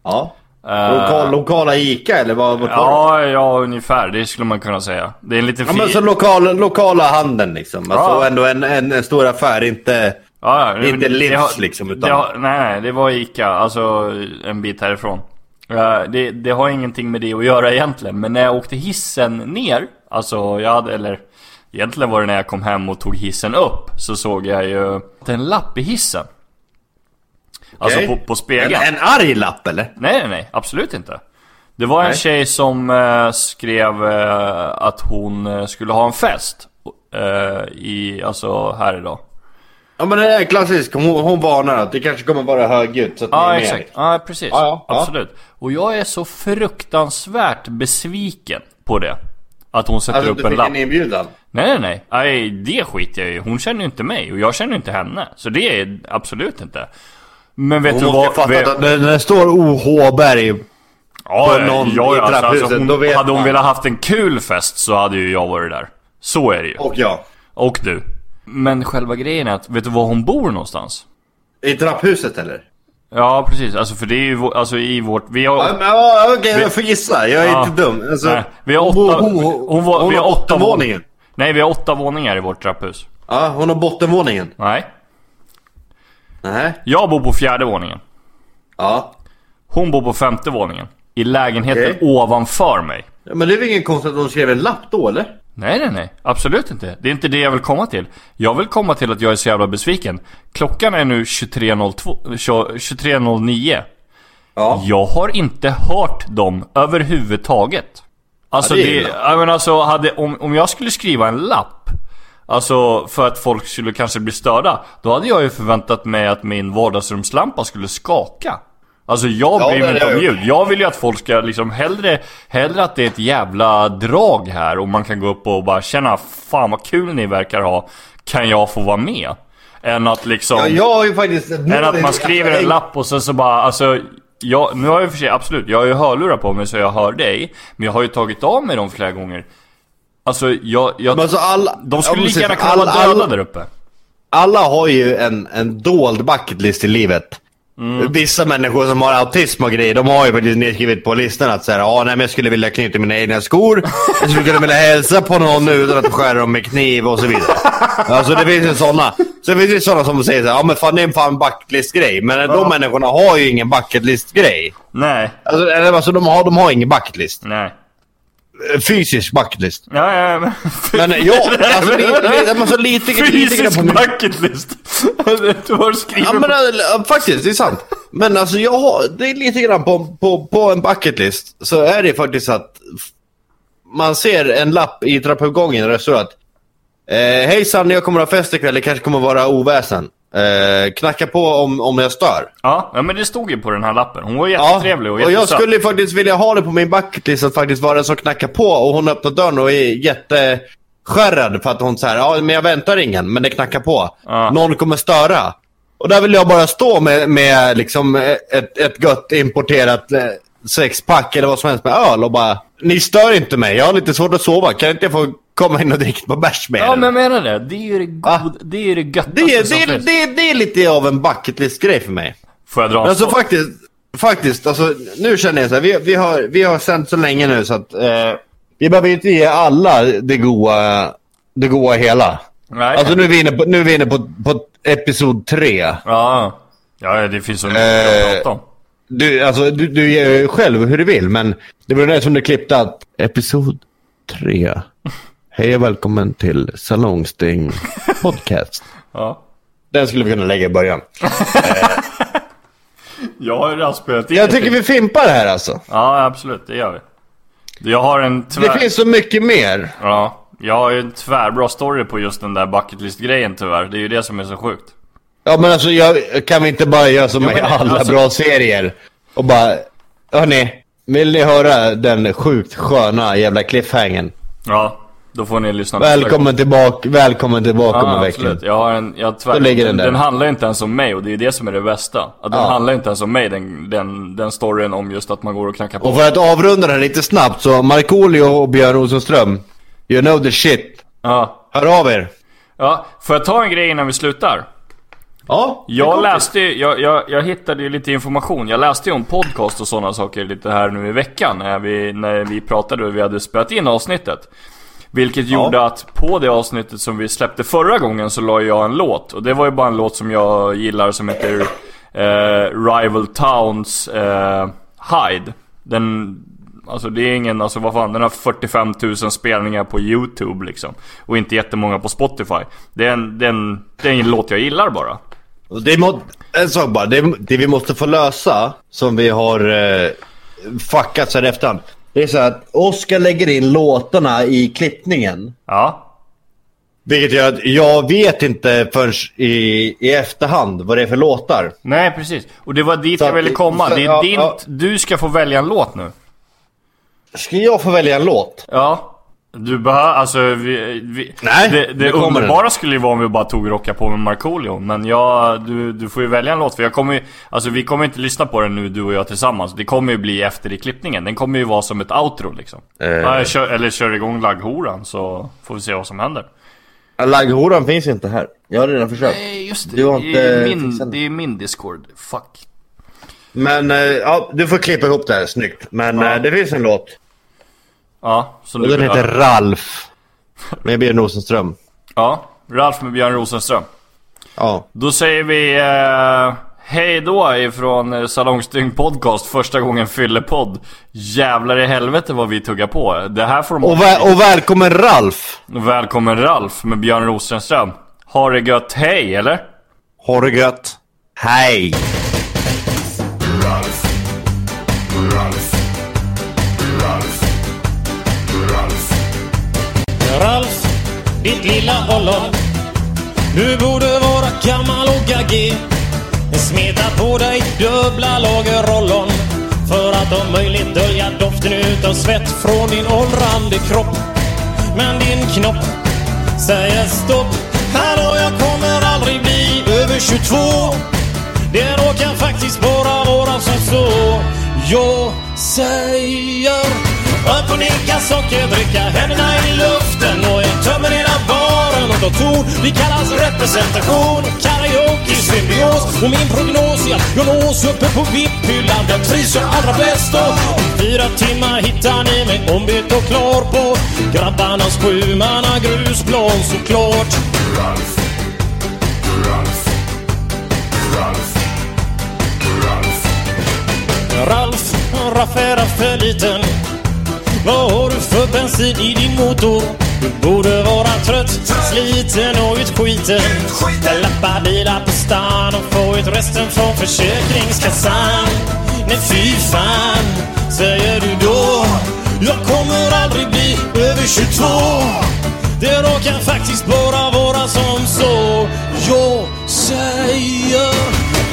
S3: Ja.
S1: eh,
S3: Lokal, lokala ICA eller vad? vad ja,
S1: Ja, ja ungefär. Det skulle man kunna säga. Det är en liten
S3: ja, men
S1: fi-
S3: så lokal, lokala handeln liksom. Alltså
S1: Ja.
S3: ändå en, en, en stor affär, inte
S1: Ja, ja,
S3: Inte
S1: det- det
S3: Livs,
S1: har-
S3: liksom, utan-
S1: Det har, nej, nej, det var Ica, alltså en bit härifrån. Eh, Det, det har ingenting med det att göra egentligen, men när jag åkte hissen ner, alltså jag hade, eller egentligen var det när jag kom hem och tog hissen upp, så såg jag ju att det är en lapp i hissen. Alltså
S3: Okej.
S1: på, på spegeln.
S3: En, en arg lapp eller?
S1: Nej, nej, nej. Absolut inte. Det var en
S3: Nej.
S1: tjej som eh, skrev eh, att hon eh, skulle ha en fest. Eh, i, alltså här idag.
S3: Ja men det är klassiskt. Hon, hon varnar att det kanske kommer vara högljutt så att ni
S1: Ja,
S3: är med. Alltså,
S1: exakt. Ja, precis.
S3: Ja, ja, ja.
S1: Absolut. Och jag är så fruktansvärt besviken på det. Att hon sätter
S3: Alltså
S1: upp
S3: du
S1: en
S3: fick
S1: lapp.
S3: en inbjudan.
S1: Nej, nej, nej. Nej, det skiter jag i. Hon känner ju inte mig och jag känner ju inte henne. Så det är absolut inte. Men vet
S3: Hon
S1: du
S3: måste
S1: vad?
S3: fatta
S1: vet-
S3: att när när det står O.H. Berg
S1: Ja,
S3: på någon
S1: ja,
S3: i
S1: ja, alltså,
S3: trapphuset,
S1: alltså, hon,
S3: då vet
S1: Hade hon
S3: man.
S1: velat haft en kul fest så hade ju jag varit där. Så är det ju.
S3: och jag.
S1: Och du. Men själva grejen är att, vet du var hon bor någonstans?
S3: I trapphuset eller?
S1: Ja, precis. Alltså för det är ju vå- alltså, i vårt... Vi har...
S3: Ja, men, ja, Okej, jag får gissa. Jag är
S1: Ja.
S3: inte dum. Alltså,
S1: nej, vi har
S3: hon
S1: åtta...
S3: bor- hon,
S1: hon var,
S3: hon
S1: vi har åtta vån-
S3: bottenvåningen.
S1: Nej, vi har åtta våningar i vårt trapphus.
S3: Ja, hon har bottenvåningen.
S1: Nej.
S3: Nej.
S1: Jag bor på fjärde våningen.
S3: Ja.
S1: Hon bor på femte våningen. I lägenheten
S3: Okej.
S1: ovanför mig.
S3: Ja, Men det är väl ingen konstigt att hon skrev en lapp då eller?
S1: Nej, nej, nej. Absolut inte. Det är inte det jag vill komma till. Jag vill komma till att jag är så jävla besviken. Klockan är nu 23.02 tjo- 23.09.
S3: Ja.
S1: Jag har inte hört dem överhuvudtaget. Alltså,
S3: Ja, det är
S1: det,
S3: illa.
S1: jag menar, alltså hade, om, om jag skulle skriva en lapp Alltså för att folk skulle kanske bli störda Då hade jag ju förväntat mig att min vardagsrumslampa skulle skaka Alltså jag
S3: Ja,
S1: bryr
S3: det
S1: mig inte
S3: hade
S1: om
S3: jag
S1: ljud Jag vill ju att folk ska liksom hellre Hellre att det är ett jävla drag här och man kan gå upp och bara känna Fan vad kul ni verkar ha Kan jag få vara med? Än att liksom
S3: Ja, jag har ju faktiskt...
S1: än att man skriver en lapp och sen så bara, alltså... Jag, nu har jag i och för sig, absolut, jag har ju hörlurar på mig så jag hör dig. Men jag har ju tagit av mig dem flera gånger. Alltså jag... jag
S3: Men alltså alla,
S1: de skulle
S3: ja,
S1: lika gärna kunna
S3: alla,
S1: vara döda
S3: alla,
S1: där uppe.
S3: alla har ju en, en dold bucket list i livet.
S1: Mm.
S3: Vissa människor som har autism och grejer, de har ju faktiskt nedskrivet på listan att säga ja nej men jag skulle vilja knyta mina egna skor, jag skulle kunna vilja hälsa på någon utan att skära dem med kniv och så vidare. Alltså det finns ju sådana. Sen finns det ju sådana som säger såhär, ja men fan det är en fan bucket list grej. Men de människorna har ju ingen bucket list grej.
S1: Nej,
S3: Alltså, eller, alltså de, har, de har ingen bucket list.
S1: nej.
S3: Fysisk bucket list.
S1: Ja, ja, men...
S3: Men ja, alltså, li, li, alltså lite, lite, lite grann
S1: Fysisk
S3: på min...
S1: bucket list! du har skrivit...
S3: Ja, men, äh, faktiskt, det är sant. Men alltså jag har, det är lite grann på, på, på en bucket list så är det faktiskt att f- man ser en lapp i trappuppgången där det står att eh, Hejsan, jag kommer ha fest ikväll, det kanske kommer vara oväsen. Eh, knacka på om, om jag stör.
S1: ja, ja, men det stod ju på den här lappen. Hon var
S3: Ja,
S1: jättetrevlig och
S3: och jag
S1: jättesöt.
S3: skulle faktiskt vilja ha det på min bucket list att faktiskt vara den som knackar på och hon öppnar dörren och är jätteskärrad för att hon säger ja men jag väntar ingen, men det knackar på.
S1: Ja.
S3: Någon kommer störa. Och där vill jag bara stå med, med liksom eh, ett, ett gött importerat eh, sexpack eller vad som helst med öl och bara Ni stör inte mig, jag har lite svårt att sova, kan inte jag få komma in och dricka på bärs med
S1: Ja,
S3: er?"
S1: men jag menar det. Det är ju det, god...
S3: Ah.
S1: det, är ju det
S3: det,
S1: göttaste som
S3: är- det, det,
S1: finns.
S3: det, det är lite av en bucket list grej för mig.
S1: Får jag dra en
S3: Men alltså
S1: story?
S3: faktiskt, faktiskt alltså, nu känner jag så här, vi, vi, har, vi har sänt så länge nu så att eh, vi behöver ju inte ge alla det goa, det goa hela.
S1: Nej.
S3: Alltså nu är vi inne på, nu är vi inne på, på episod tre.
S1: Ja, ja det finns så mycket
S3: Eh,
S1: att prata om.
S3: Du, alltså, du, du ger ju själv hur du vill men det var ju det som du klippte att episod tre. Hej och välkommen till Salongsting podcast.
S1: Ja.
S3: Den skulle vi kunna lägga i början.
S1: Jag har ju redan spelat in
S3: Jag
S1: ett
S3: tycker vi fimpar det här alltså.
S1: Ja, absolut. Det gör vi. Jag har en tvär...
S3: Det finns så mycket mer.
S1: Ja, jag har ju en tvärbra story på just den där bucketlist-grejen tyvärr. Det är ju det som är så sjukt.
S3: Ja men alltså jag, kan vi inte bara göra som
S1: Ja,
S3: i
S1: men,
S3: alla
S1: alltså-
S3: bra serier och bara Hörni, vill ni höra den sjukt sköna jävla cliffhangern?
S1: Ja, då får ni lyssna nästa gång.
S3: Välkommen tillbaka, välkommen tillbaka om en
S1: Ja,
S3: vecka.
S1: absolut. Jag har en... Jag har tvär...
S3: Då ligger den där.
S1: den handlar ju inte ens om mig och det är ju det som är det bästa. Att den
S3: Ja.
S1: handlar ju inte ens om mig, den, den, den storyn om just att man går och knackar på.
S3: Och för att avrunda den lite snabbt så Markoolio och Björn Rosenström, you know the shit.
S1: Ja.
S3: Hör av er.
S1: ja. Får jag ta en grej innan vi slutar?
S3: Ja, det
S1: Jag
S3: kom
S1: läste ju- jag, jag, jag hittade ju lite information. Jag läste ju om podcast och sådana saker lite här nu i veckan när vi, när vi pratade och vi hade spelat in avsnittet. Vilket gjorde att på det avsnittet som vi släppte förra gången så la jag en låt. Och det var ju bara en låt som jag gillar som heter eh, Rival Towns eh, Hide. Den, alltså det är ingen, alltså vad fan, den har 45 000 spelningar på YouTube liksom. Och inte jättemånga på Spotify. Det är en, det är en, det är en låt jag gillar bara.
S6: Och Det må, en sak bara, det, det vi måste få lösa, som vi har eh, fuckat så här i efterhand. Det är så här att Oskar lägger in låtarna i klippningen.
S1: Ja.
S6: Vilket gör att jag vet inte förrän i, i efterhand vad det är för låtar.
S1: Nej precis, och det var dit
S6: Så
S1: jag
S6: att-
S1: ville komma.
S6: så-
S1: Det är
S6: ja,
S1: din,
S6: ja.
S1: du ska få välja en låt nu.
S6: Ska jag få välja en låt?
S1: Ja. Du behöver, alltså vi, vi,
S6: Nej,
S1: Det, det
S6: nu kommer
S1: underbara skulle ju vara om vi bara tog rocka på med Markoolio. Men jag, du, du får ju välja en låt. För jag kommer ju, alltså vi kommer inte lyssna på den nu du och jag tillsammans. Det kommer ju bli efter i klippningen. Den kommer ju vara som ett outro liksom.
S6: Eh.
S1: Ja, jag kör, eller kör igång lagghoran så får vi se vad som händer.
S6: Lagghoran finns inte här. Jag har redan försökt.
S1: Eh, Just
S6: det. Du har inte Det är min- fixat den.
S1: det är min discord. Fuck.
S6: Men eh, ja, du får klippa ihop det här snyggt. Men
S1: Ja.
S6: eh, det finns en låt.
S1: Ja, så
S6: Och
S1: nu...
S6: den heter Ralf. Med Björn Rosenström.
S1: Ja, Ralf med Björn Rosenström.
S6: Ja.
S1: Då säger vi eh, hej då ifrån eh, Salongstygn Podcast, första gången fyllepodd. Jävlar i helvete vad vi tuggar på. Det här får de...
S6: Och, vä- och välkommen Ralf!
S1: Välkommen Ralf med Björn Rosenström. Har det gött, hej eller?
S6: Ha det gött! Hej!
S7: Ralf, ditt lilla ollon. Du borde vara gammal och gaggig. Smeta på dig dubbla lager ollon. För att om möjligt dölja doften utav svett från din åldrande kropp. Men din knopp säger stopp. Hallå, jag kommer aldrig bli över 22. Det råkar faktiskt bara vara som så. Jag säger upp och nicka, sockerdricka, händerna i luften och jag tömmer hela baren och kontor. Vi kallas representation, karaoke, symbios och min prognos är att jag nås uppe på VIP-hyllan. Där trivs jag allra bäst och om fyra timmar hittar ni mig ombytt och klar på grabbarnas sjumanna grusplan såklart. Ralf, Raff är för liten. Vad har du för bensin i din motor? Du borde vara trött, sliten och utskiten. Lappa bilar på stan och få ut resten från Försäkringskassan. Nej fy fan, säger du då. Jag kommer aldrig bli över 22. Det råkar faktiskt bara vara som så. Jag säger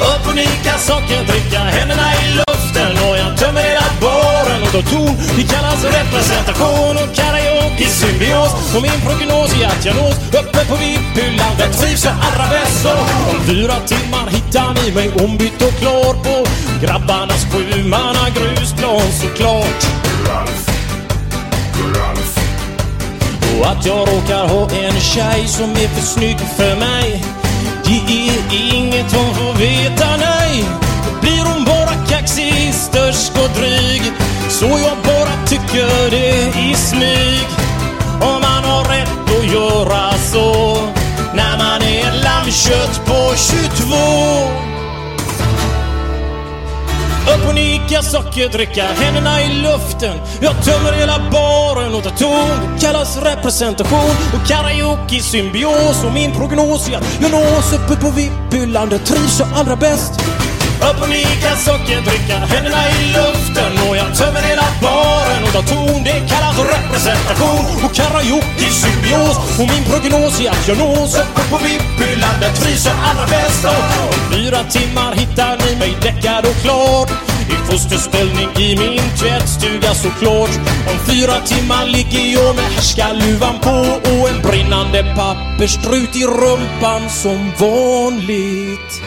S7: upp och nicka, sockerdricka, händerna i luften och jag tömmer hela baren och tar ton. Det kallas representation och karaoke symbios. Och min prognos är att jag nås uppe på VIP-hyllan. Där trivs jag allra bäst. Och om fyra timmar hittar ni mig ombytt och klar på grabbarnas sjumanna grusplan såklart. Och att jag råkar ha en tjej som är för snygg för mig Det är inget hon får veta, nej Blir hon bara kaxig, störsk och dryg Så jag bara tycker det i smyg Om man har rätt att göra så När man är ett lammkött på 22 upp och nicka, sockerdricka, händerna i luften. Jag tömmer hela baren och tar ton. Det kallas representation och karaoke symbios. Och min prognos är att jag nås uppe på VIP-hyllan. Där trivs jag allra bäst. Upp och nicka, sockerdricka, händerna i luften. Och jag tömmer hela baren och tar ton. Det kallas representation och karaoke symbios. Och min prognos är att jag nås uppe på VIP-hyllan. Där trivs jag allra bäst. Och om fyra timmar hittar ni mig däckad och klar. I fosterställning i min tvättstuga såklart. Om fyra timmar ligger jag med härskarluvan på och en brinnande pappersstrut i rumpan som vanligt.